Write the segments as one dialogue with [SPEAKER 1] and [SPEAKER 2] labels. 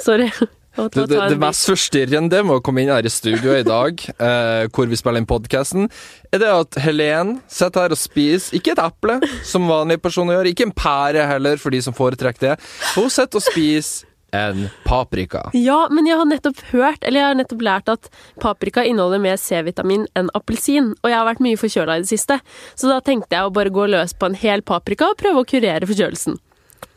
[SPEAKER 1] Sorry. å ta-
[SPEAKER 2] Det, det,
[SPEAKER 1] ta en
[SPEAKER 2] det mest forstyrrende med å komme inn her i studio i dag, eh, hvor vi spiller inn podkasten, er det at Helen sitter her og spiser ikke et eple, som vanlige personer gjør, ikke en pære heller, for de som foretrekker det. Hun sitter og spiser en paprika.
[SPEAKER 1] bit. Ja, men jeg har nettopp hørt, eller jeg har nettopp lært at paprika inneholder mer C-vitamin enn appelsin, og jeg har vært mye forkjøla i det siste, så da tenkte jeg å bare gå løs på en hel paprika og prøve å kurere forkjølelsen.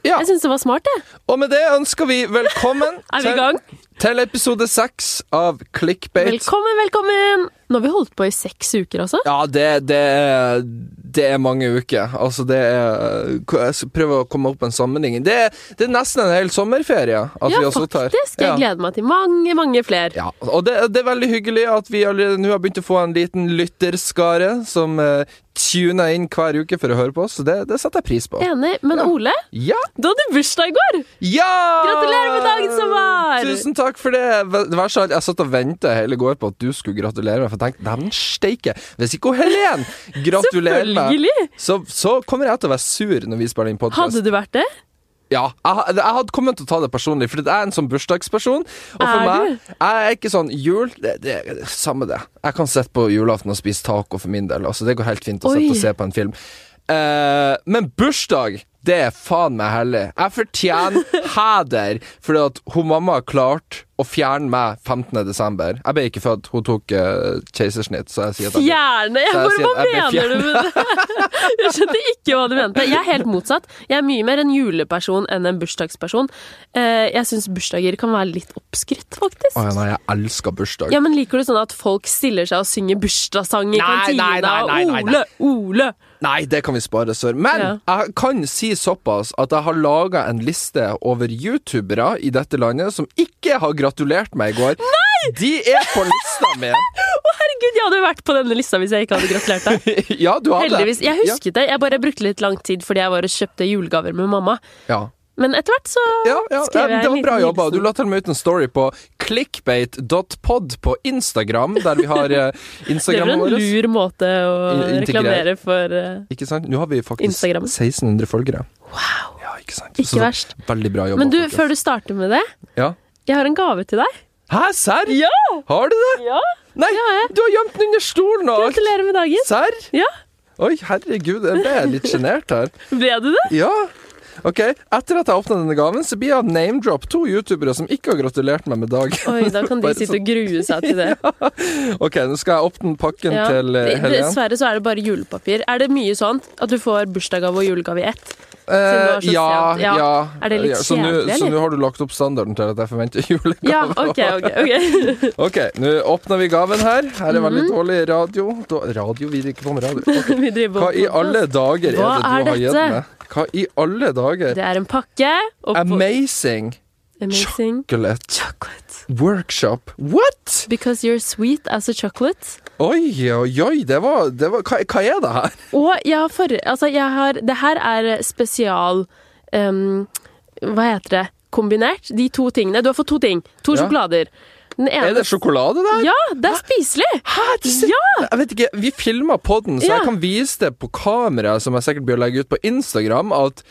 [SPEAKER 2] Ja,
[SPEAKER 1] Jeg syns det var smart, jeg.
[SPEAKER 2] Og med det ønsker vi velkommen
[SPEAKER 1] Er vi i gang?
[SPEAKER 2] til, til episode seks av Clickbait.
[SPEAKER 1] Velkommen, velkommen! Nå har vi holdt på i seks uker, altså.
[SPEAKER 2] Ja, det, det, er, det er mange uker. Altså, det er Jeg skal prøve å komme opp med en sammenheng. Det, er- det er nesten en hel sommerferie at vi
[SPEAKER 1] ja,
[SPEAKER 2] har sittet her.
[SPEAKER 1] faktisk. Jeg gleder meg til mange, mange flere.
[SPEAKER 2] Ja, og det, det er veldig hyggelig at vi allerede nå har begynt å få en liten lytterskare som eh, tuner inn hver uke for å høre på oss, så det, det setter jeg pris på.
[SPEAKER 1] Enig. Men
[SPEAKER 2] Ja.
[SPEAKER 1] Ole,
[SPEAKER 2] Ja!
[SPEAKER 1] du hadde bursdag i går!
[SPEAKER 2] ja!
[SPEAKER 1] Gratulerer med dagen som var!
[SPEAKER 2] Tusen takk for det. Det verste av alt, jeg satt og ventet hele går på at du skulle gratulere meg, for jeg tenkte dæven steike, hvis ikke hun Helen gratulerer meg,
[SPEAKER 1] Selvfølgelig!
[SPEAKER 2] så, så kommer jeg til å være sur når vi spiller inn podkast.
[SPEAKER 1] Hadde du vært det?
[SPEAKER 2] Ja, jeg, jeg hadde kommet til å ta det personlig, for jeg er en sånn bursdagsperson. Og for
[SPEAKER 1] Er
[SPEAKER 2] meg, jeg er ikke sånn jul det, det, det, Samme det. Jeg kan sitte på julaften og spise taco for min del. Altså, det går helt fint å
[SPEAKER 1] Oi.
[SPEAKER 2] sitte og se på en film. Eh, men bursdag, det er faen meg hellig. Jeg fortjener heder fordi at hun mamma klarte å fjerne meg 15. desember. Jeg ble ikke født, hun tok eh, keisersnitt, så jeg sier at jeg ble-
[SPEAKER 1] Fjerne! Jeg
[SPEAKER 2] Så jeg
[SPEAKER 1] bare,
[SPEAKER 2] sier
[SPEAKER 1] hva
[SPEAKER 2] at jeg ble
[SPEAKER 1] mener du med det? Jeg skjønte ikke hva du mente. Jeg er helt motsatt. Jeg er mye mer en juleperson enn en bursdagsperson. Eh, Jeg syns bursdager kan være litt oppskrytt, faktisk.
[SPEAKER 2] Å ja, nei, jeg elsker bursdag.
[SPEAKER 1] Ja, men Liker du sånn at folk stiller seg og synger bursdagssang i
[SPEAKER 2] Nei,
[SPEAKER 1] kantina?
[SPEAKER 2] nei, nei, nei, nei, nei.
[SPEAKER 1] og Ole, Ole!
[SPEAKER 2] Nei, det kan vi spare for. Men
[SPEAKER 1] Ja.
[SPEAKER 2] jeg kan si såpass at jeg har laga en liste over youtubere i dette landet som ikke har gratulert meg i går. Nei! De er på lista mi.
[SPEAKER 1] Å, herregud, jeg hadde jo vært på denne lista hvis jeg ikke hadde gratulert deg.
[SPEAKER 2] ja, du har det.
[SPEAKER 1] Heldigvis. Jeg husket det. Jeg bare brukte litt lang tid fordi jeg var og kjøpte julegaver med mamma.
[SPEAKER 2] Ja.
[SPEAKER 1] Men etter hvert så
[SPEAKER 2] Ja, ja, ja,
[SPEAKER 1] skrev jeg
[SPEAKER 2] det
[SPEAKER 1] en
[SPEAKER 2] var bra
[SPEAKER 1] liten
[SPEAKER 2] jobba. Du
[SPEAKER 1] hilsen.
[SPEAKER 2] la til og med ut en story på clickbait.pod på Instagram, der vi har
[SPEAKER 1] Det
[SPEAKER 2] eh,
[SPEAKER 1] er vel
[SPEAKER 2] Instagramen
[SPEAKER 1] en
[SPEAKER 2] vår.
[SPEAKER 1] lur måte å
[SPEAKER 2] In-
[SPEAKER 1] reklamere
[SPEAKER 2] integrere.
[SPEAKER 1] for eh,
[SPEAKER 2] Ikke sant? Nå har vi faktisk
[SPEAKER 1] Instagram.
[SPEAKER 2] 1600 følgere.
[SPEAKER 1] Wow.
[SPEAKER 2] Ja, ikke sant?
[SPEAKER 1] Ikke verst.
[SPEAKER 2] Veldig bra jobba.
[SPEAKER 1] Men du,
[SPEAKER 2] folkens.
[SPEAKER 1] før du starter med det,
[SPEAKER 2] ja.
[SPEAKER 1] jeg har en gave til deg.
[SPEAKER 2] Hæ, serr?
[SPEAKER 1] Ja!
[SPEAKER 2] Har du det?
[SPEAKER 1] ja.
[SPEAKER 2] Nei, du har gjemt den under stolen og alt.
[SPEAKER 1] Gratulerer med dagen.
[SPEAKER 2] Serr?
[SPEAKER 1] Ja,
[SPEAKER 2] Oi, herregud, jeg ble litt sjenert her.
[SPEAKER 1] Ble du det?
[SPEAKER 2] Ja. Ok, Etter at jeg åpna denne gaven, så blir jeg name-drop to youtubere som ikke har gratulert meg med dag.
[SPEAKER 1] Oi, da kan de
[SPEAKER 2] Bare sånn.
[SPEAKER 1] sitte og grue seg til det.
[SPEAKER 2] Ok, nå skal jeg åpne pakken
[SPEAKER 1] Ja.
[SPEAKER 2] til eh, Helen.
[SPEAKER 1] Dessverre så er det bare julepapir. Er det mye sånn at du får bursdagsgave og julegave i ett? det var så
[SPEAKER 2] Eh, ja,
[SPEAKER 1] sent.
[SPEAKER 2] ja,
[SPEAKER 1] Ja. Er det litt
[SPEAKER 2] ja, så nå-
[SPEAKER 1] kjedelig, eller?
[SPEAKER 2] Så nå har du lagt opp standarden til at jeg forventer julegave.
[SPEAKER 1] Ja, OK, OK. ok.
[SPEAKER 2] Ok, nå åpner vi gaven her. Her er
[SPEAKER 1] Mhm.
[SPEAKER 2] veldig dårlig radio. Da, radio, vi driver ikke på med radio. Ok.
[SPEAKER 1] Vi driver
[SPEAKER 2] Hva
[SPEAKER 1] og-
[SPEAKER 2] i alle dager er det
[SPEAKER 1] Hva er
[SPEAKER 2] du har gitt
[SPEAKER 1] dette?
[SPEAKER 2] meg? Hva i alle dager?
[SPEAKER 1] Det er en pakke. Og på
[SPEAKER 2] Amazing
[SPEAKER 1] Amazing
[SPEAKER 2] chocolate
[SPEAKER 1] chocolate.
[SPEAKER 2] workshop. What?!
[SPEAKER 1] Because you're sweet as a chocolate.
[SPEAKER 2] Oi, oi, oi, det var, det var hva, hva er det her?
[SPEAKER 1] Og jeg har for... Altså, jeg har Det her er spesial em, Hva heter det? Kombinert. De to tingene. Du har fått to ting. To
[SPEAKER 2] Ja.
[SPEAKER 1] sjokolader. Den ene
[SPEAKER 2] Er det sjokolade der?
[SPEAKER 1] Ja, det er spiselig!
[SPEAKER 2] Hæ, det ser- Jeg vet ikke, vi filma podden, så
[SPEAKER 1] Ja.
[SPEAKER 2] jeg kan vise det på kamera, som jeg sikkert blir å legge ut på Instagram, at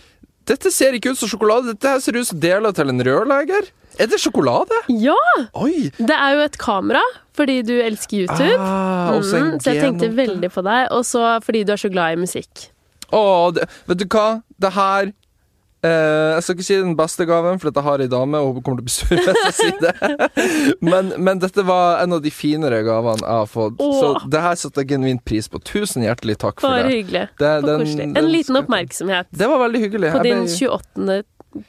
[SPEAKER 2] dette ser ikke ut som sjokolade, dette her ser ut som deler til en rørlegger. Er det sjokolade?
[SPEAKER 1] Ja!
[SPEAKER 2] Oi!
[SPEAKER 1] Det er jo et kamera, fordi du elsker YouTube.
[SPEAKER 2] Ah, også en
[SPEAKER 1] Mm, så jeg tenkte
[SPEAKER 2] genom-
[SPEAKER 1] veldig på deg, og så fordi du er så glad i musikk.
[SPEAKER 2] Å, det, vet du hva? Det her eh, Jeg skal ikke si den beste gaven, for dette har ei dame, og hun kommer til å bli sur hvis jeg sier det. Men, men dette var en av de finere gavene jeg har fått,
[SPEAKER 1] Åh.
[SPEAKER 2] så det her setter jeg genuint pris på. Tusen hjertelig takk for
[SPEAKER 1] Bare
[SPEAKER 2] det.
[SPEAKER 1] hyggelig.
[SPEAKER 2] det,
[SPEAKER 1] Og koselig. En liten oppmerksomhet
[SPEAKER 2] Det var veldig hyggelig.
[SPEAKER 1] på,
[SPEAKER 2] Jeg
[SPEAKER 1] din
[SPEAKER 2] ble-
[SPEAKER 1] 28.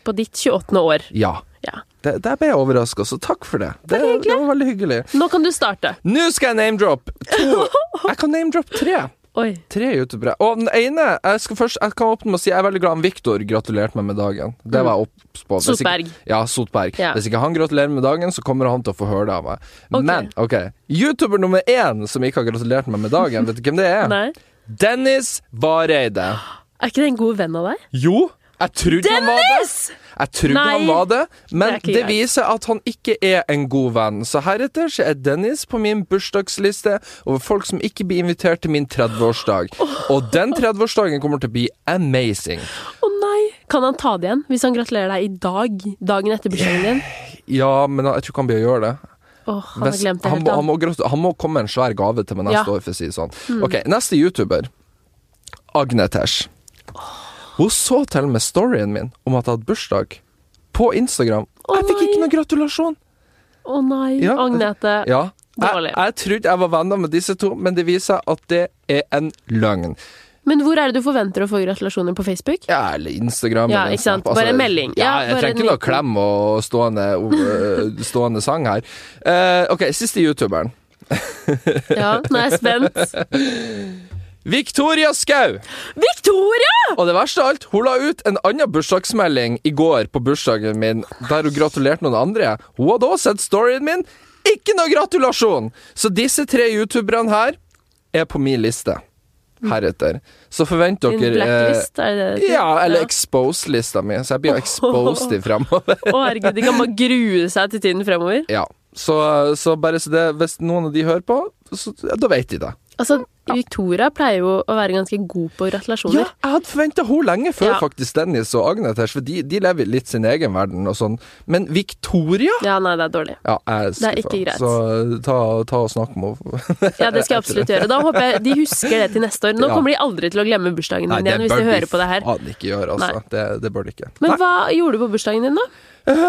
[SPEAKER 1] på ditt 28. år.
[SPEAKER 2] Ja.
[SPEAKER 1] Ja.
[SPEAKER 2] Det, der ble jeg overraska, så takk for det. Det,
[SPEAKER 1] Bare hyggelig.
[SPEAKER 2] det var veldig hyggelig.
[SPEAKER 1] Nå kan du starte.
[SPEAKER 2] Nå skal jeg name-drop to. Jeg kan name-drop tre.
[SPEAKER 1] Oi.
[SPEAKER 2] Tre youtubere. Og den ene Jeg skal først Jeg kan åpne med å si jeg er veldig glad om Viktor gratulerte meg med dagen. Det var jeg obs på. Hvis
[SPEAKER 1] Mm.
[SPEAKER 2] ikke-
[SPEAKER 1] Sotberg.
[SPEAKER 2] Ja, Sotberg.
[SPEAKER 1] Ja.
[SPEAKER 2] Hvis ikke han gratulerer med dagen, så kommer han til å få høre det av meg.
[SPEAKER 1] Ok.
[SPEAKER 2] Men OK. Youtuber nummer én som ikke har gratulert meg med dagen, vet du hvem det er?
[SPEAKER 1] Nei.
[SPEAKER 2] Dennis Vareide.
[SPEAKER 1] Er ikke det en god venn av deg?
[SPEAKER 2] Jo, jeg trodde han var det.
[SPEAKER 1] Yes!
[SPEAKER 2] Jeg trodde
[SPEAKER 1] Nei,
[SPEAKER 2] han var det, men
[SPEAKER 1] det er
[SPEAKER 2] det,
[SPEAKER 1] ikke greit.
[SPEAKER 2] viser at han ikke er en god venn. Så heretter så er Dennis på min bursdagsliste over folk som ikke blir invitert til min 30-årsdag. Og den 30-årsdagen kommer til å bli amazing.
[SPEAKER 1] Å nei! Kan han ta det igjen hvis han gratulerer deg i dag? Dagen etter bursdagen din?
[SPEAKER 2] Ja, men jeg tror ikke han blir å gjøre det.
[SPEAKER 1] Åh, han har
[SPEAKER 2] Hvis-
[SPEAKER 1] glemt det
[SPEAKER 2] han,
[SPEAKER 1] helt.
[SPEAKER 2] må- han,
[SPEAKER 1] Han,
[SPEAKER 2] må, grat- han må komme med en svær gave til meg neste
[SPEAKER 1] Ja. Mm.
[SPEAKER 2] år, for å si det sånn. Ok, neste YouTuber. Agnetesh. Hun så til og med storyen min om at jeg hadde bursdag, på Instagram.
[SPEAKER 1] Å
[SPEAKER 2] jeg fikk ikke
[SPEAKER 1] nei.
[SPEAKER 2] noen gratulasjon!
[SPEAKER 1] Å nei,
[SPEAKER 2] Ja.
[SPEAKER 1] Agnete.
[SPEAKER 2] Ja. Jeg,
[SPEAKER 1] Dårlig.
[SPEAKER 2] jeg trodde jeg var venner med disse to, men det viser seg at det er en løgn.
[SPEAKER 1] Men hvor er det du forventer å få gratulasjoner på Facebook?
[SPEAKER 2] Ja, eller Instagram.
[SPEAKER 1] Ja,
[SPEAKER 2] eller
[SPEAKER 1] ikke sant?
[SPEAKER 2] Snap. altså.
[SPEAKER 1] Bare en melding.
[SPEAKER 2] Ja,
[SPEAKER 1] Ja,
[SPEAKER 2] jeg
[SPEAKER 1] bare en
[SPEAKER 2] trenger ikke noe
[SPEAKER 1] liten-
[SPEAKER 2] klem og stående, øh, stående sang her. Eh, ok, siste youtuberen.
[SPEAKER 1] Ja, nå er jeg spent.
[SPEAKER 2] Victoria Skau!
[SPEAKER 1] Victoria!
[SPEAKER 2] Og det verste av alt, hun la ut en annen bursdagsmelding i går på bursdagen min, der hun gratulerte noen andre. Hun hadde også sett storyen min. Ikke noe gratulasjon! Så disse tre youtuberne her er på min liste heretter. Så forvent
[SPEAKER 1] Din
[SPEAKER 2] dere eh,
[SPEAKER 1] blacklist, er det det? heter?
[SPEAKER 2] Ja, eller expose-lista mi. Så jeg blir jo exposed i fremover.
[SPEAKER 1] Å herregud, de kan bare grue seg til tiden fremover.
[SPEAKER 2] Ja. Så, så bare så det, hvis noen av de hører på, så, ja, da vet de det.
[SPEAKER 1] Altså, Victoria pleier jo å være ganske god på gratulasjoner.
[SPEAKER 2] Ja, jeg hadde forventa henne lenge før
[SPEAKER 1] Ja.
[SPEAKER 2] faktisk Dennis og Agnetesh, for de, de lever litt sin egen verden og sånn. Men Victoria
[SPEAKER 1] Ja, nei, det er dårlig.
[SPEAKER 2] ja, jeg
[SPEAKER 1] Det
[SPEAKER 2] er
[SPEAKER 1] er
[SPEAKER 2] skuffa.
[SPEAKER 1] ikke greit.
[SPEAKER 2] Så ta, ta og snakk med henne.
[SPEAKER 1] Ja, det skal jeg absolutt gjøre. Da håper jeg de husker det til neste år. Nå
[SPEAKER 2] Ja.
[SPEAKER 1] kommer de aldri til å glemme bursdagen din igjen hvis
[SPEAKER 2] bør
[SPEAKER 1] de hører på det her.
[SPEAKER 2] faen ikke gjøre, altså. Det, det bør de ikke.
[SPEAKER 1] Men
[SPEAKER 2] Nei.
[SPEAKER 1] hva gjorde du på bursdagen din, da?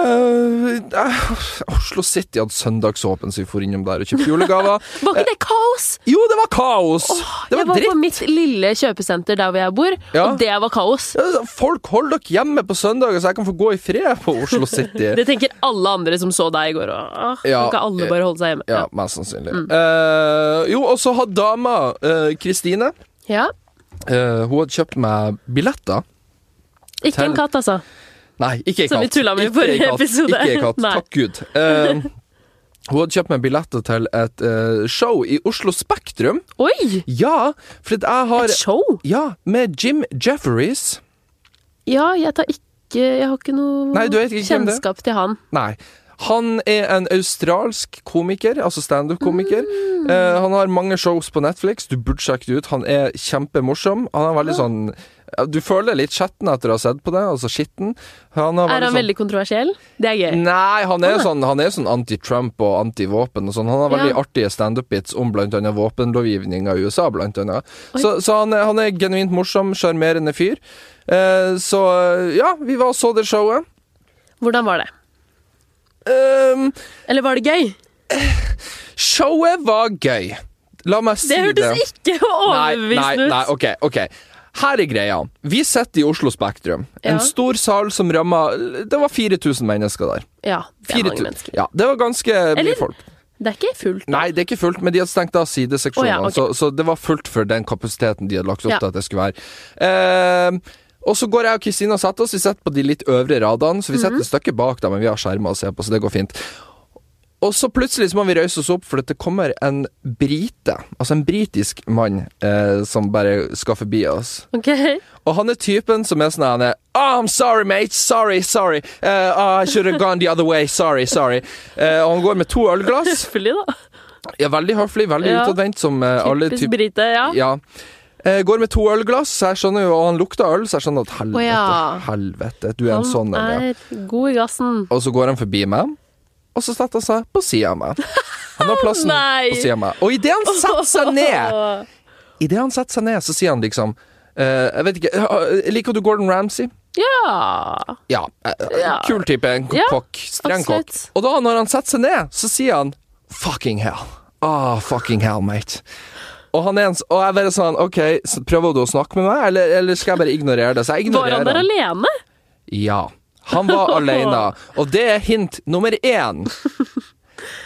[SPEAKER 2] Eh, eh, Oslo City hadde søndagsåpen, så vi for innom der og kjøpte julegaver.
[SPEAKER 1] Var ikke det kaos?
[SPEAKER 2] jo, det var kaos! Eh, det
[SPEAKER 1] jeg
[SPEAKER 2] var
[SPEAKER 1] var
[SPEAKER 2] dritt.
[SPEAKER 1] på mitt lille kjøpesenter der hvor jeg bor,
[SPEAKER 2] Ja.
[SPEAKER 1] og det var kaos.
[SPEAKER 2] Ja, altså, Folk, hold dere hjemme på søndager, så jeg kan få gå i fred på Oslo City.
[SPEAKER 1] Det tenker alle andre som så deg i går. Og, ah,
[SPEAKER 2] Ja.
[SPEAKER 1] Kan
[SPEAKER 2] eh,
[SPEAKER 1] ikke alle bare holde seg hjemme?
[SPEAKER 2] Ja, mest sannsynlig.
[SPEAKER 1] Mm.
[SPEAKER 2] Eh, jo, og så hadde dama, eh, Kristine
[SPEAKER 1] Ja.
[SPEAKER 2] eh, Hun hadde kjøpt meg billetter.
[SPEAKER 1] Ikke en katt, altså.
[SPEAKER 2] Nei, ikke ei katt.
[SPEAKER 1] Som vi tullet med i
[SPEAKER 2] Ikke ei
[SPEAKER 1] forrige
[SPEAKER 2] katt.
[SPEAKER 1] episode.
[SPEAKER 2] Ikke ei katt,
[SPEAKER 1] Nei.
[SPEAKER 2] takk Gud. Eh, hun hadde kjøpt meg billetter til et eh, show i Oslo Spektrum.
[SPEAKER 1] Oi!
[SPEAKER 2] Ja, for at jeg har
[SPEAKER 1] Et show?
[SPEAKER 2] Ja, med Jim Jefferies.
[SPEAKER 1] Ja, jeg tar ikke Jeg har ikke noe
[SPEAKER 2] Nei, du vet ikke hvem det er.
[SPEAKER 1] kjennskap til han.
[SPEAKER 2] Nei. Han er en australsk komiker, altså standup-komiker. Eh, han har mange shows på Netflix, du burde sjekke det ut. Han er kjempemorsom. Han er veldig sånn ja, Du føler deg litt skitten etter å ha sett på det, altså skitten. Han er,
[SPEAKER 1] Er han
[SPEAKER 2] sånn,
[SPEAKER 1] veldig kontroversiell? Det er gøy.
[SPEAKER 2] Nei, han er sånn, han er sånn anti-Trump og anti-våpen og sånn. Han har veldig
[SPEAKER 1] Ja.
[SPEAKER 2] artige standup-bits om blant annet våpenlovgivninga i USA, blant annet. Så, så han, er, han er genuint morsom, sjarmerende fyr. Eh, så ja, vi var og så det showet.
[SPEAKER 1] Hvordan var det?
[SPEAKER 2] Um,
[SPEAKER 1] Eller var det gøy?
[SPEAKER 2] Showet var gøy. La meg si
[SPEAKER 1] Det
[SPEAKER 2] det.
[SPEAKER 1] hørtes ikke
[SPEAKER 2] Nei,
[SPEAKER 1] overbevisende
[SPEAKER 2] nei,
[SPEAKER 1] ut.
[SPEAKER 2] nei, ok, ok. Her er greia. Vi sitter i Oslo Spektrum.
[SPEAKER 1] Ja.
[SPEAKER 2] En stor sal som ramma Det var 4000 mennesker der.
[SPEAKER 1] Ja, det er
[SPEAKER 2] 4000.
[SPEAKER 1] mange mennesker.
[SPEAKER 2] Ja, det var ganske
[SPEAKER 1] Eller-
[SPEAKER 2] mye folk.
[SPEAKER 1] Det er ikke fullt.
[SPEAKER 2] Nei, det er ikke fullt, men de hadde stengt av
[SPEAKER 1] Å
[SPEAKER 2] sideseksjonene,
[SPEAKER 1] ja, ok.
[SPEAKER 2] så, så det var fullt for den kapasiteten de hadde lagt opp
[SPEAKER 1] Ja.
[SPEAKER 2] til at det skulle være. Ehm, og så går jeg og Kristina og setter oss, vi setter på de litt øvre radene, så vi
[SPEAKER 1] Mhm.
[SPEAKER 2] setter et stykke bak da, men vi har skjermer å se på, så det går fint. Og så plutselig så må vi røyse oss opp, for at det kommer en brite, altså en britisk mann, eh, som bare skal forbi oss.
[SPEAKER 1] Ok.
[SPEAKER 2] Og han er typen som er sånn han er oh, I'm sorry, mate. Sorry, sorry. Eh, ah, I should have gone the other way. Sorry, sorry. Eh, og han går med to ølglass.
[SPEAKER 1] Selvfølgelig, da.
[SPEAKER 2] Ja, veldig høflig, veldig
[SPEAKER 1] Ja.
[SPEAKER 2] utadvendt, som eh, alle
[SPEAKER 1] Typisk
[SPEAKER 2] typer
[SPEAKER 1] brite, ja.
[SPEAKER 2] Ja. Eh, går med to ølglass, så jeg skjønner jo, og han lukta øl, så jeg skjønner at helvete,
[SPEAKER 1] Å ja.
[SPEAKER 2] helvete, du er en sånn
[SPEAKER 1] Han
[SPEAKER 2] en, ja.
[SPEAKER 1] er god i gassen.
[SPEAKER 2] Og så går han forbi meg, og så setter han seg på sida av meg. Han har plassen
[SPEAKER 1] Nei.
[SPEAKER 2] på sida av meg. Og idet han setter seg ned, i det han setter seg ned, så sier han liksom eh, Jeg vet ikke, eh, liker du Gordon Ramsay?
[SPEAKER 1] Ja.
[SPEAKER 2] Ja. eh,
[SPEAKER 1] Ja.
[SPEAKER 2] Kul type, en
[SPEAKER 1] Ja,
[SPEAKER 2] kokk, streng kokk.
[SPEAKER 1] absolutt.
[SPEAKER 2] Og da, når han setter seg ned, så sier han fucking hell. Ah, fucking hell, mate. Og, han er en, s- og jeg bare sånn, ok, så prøver du å snakke med meg, eller, eller skal jeg bare ignorere det? Så jeg
[SPEAKER 1] Var
[SPEAKER 2] ignorerer
[SPEAKER 1] han der
[SPEAKER 2] han.
[SPEAKER 1] alene?
[SPEAKER 2] Ja. Han var alene, og det er hint nummer én.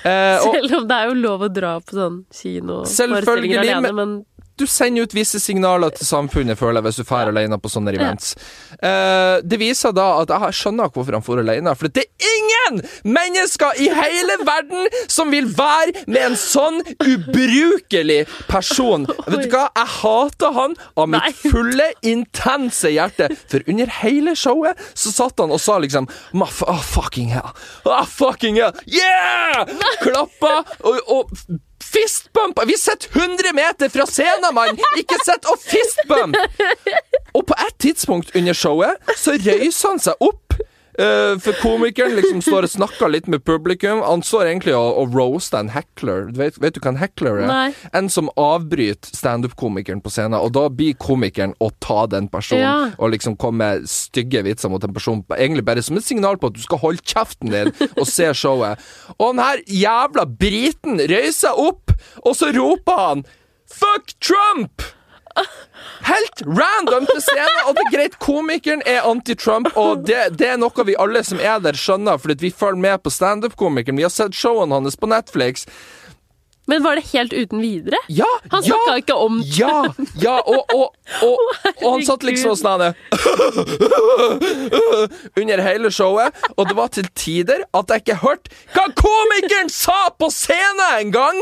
[SPEAKER 2] Eh, og
[SPEAKER 1] Selv om det er jo lov å dra på sånn kinoforestillinger
[SPEAKER 2] Selvfølgelig,
[SPEAKER 1] alene,
[SPEAKER 2] men-
[SPEAKER 1] men
[SPEAKER 2] du sender ut visse signaler til samfunnet, føler jeg, hvis du drar alene på sånne events. Eh, det viser da at jeg skjønner ikke hvorfor han drar alene, for det er ingen mennesker i hele verden som vil være med en sånn ubrukelig person. Vet du hva, jeg hater han av mitt
[SPEAKER 1] Nei.
[SPEAKER 2] fulle, intense hjerte, for under hele showet så satt han og sa liksom "Ma- f- ah, fucking hell. Ah, fucking hell. Yeah! Klappa og, og Fistbumpa! Vi sitter 100 meter fra scenen, mann! Ikke sitt og fistbump! Og på et tidspunkt under showet så røyser han seg opp. Eh, for komikeren liksom står og snakker litt med publikum. Han står egentlig og, og roaster en heckler. Du vet, vet du hva en heckler er?
[SPEAKER 1] Nei.
[SPEAKER 2] En som avbryter standup-komikeren på scenen, og da blir komikeren å ta den personen
[SPEAKER 1] Ja.
[SPEAKER 2] og liksom komme med stygge vitser mot en person, egentlig bare som et signal på at du skal holde kjeften din og se showet. Og den her jævla briten reiser seg opp, og så roper han Fuck Trump! Helt random til scenen, og det er greit, komikeren er anti-Trump, og det, det er noe vi alle som er der skjønner, fordi at vi følger med på standup-komikeren, vi har sett showene hans på Netflix.
[SPEAKER 1] Men var det helt uten videre?
[SPEAKER 2] Ja,
[SPEAKER 1] Han
[SPEAKER 2] ja,
[SPEAKER 1] snakka ikke om
[SPEAKER 2] ja, ja, og, og, og, og han satt liksom sånn her Under hele showet, og det var til tider at jeg ikke hørte hva komikeren sa på scenen engang!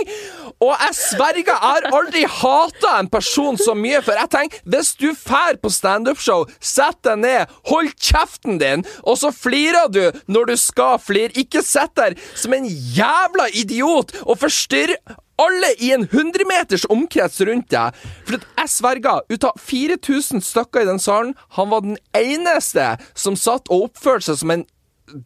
[SPEAKER 2] Og jeg sverger, jeg har aldri hata en person så mye, for jeg tenker hvis du fær på standup-show, sett deg ned, hold kjeften din, og så flirer du når du skal flire. Ikke sitt der som en jævla idiot og forstyrr alle i en 100 meters omkrets rundt deg. For at jeg sverger, ut av 4000 stykker i den salen, han var den eneste som satt og oppførte seg som en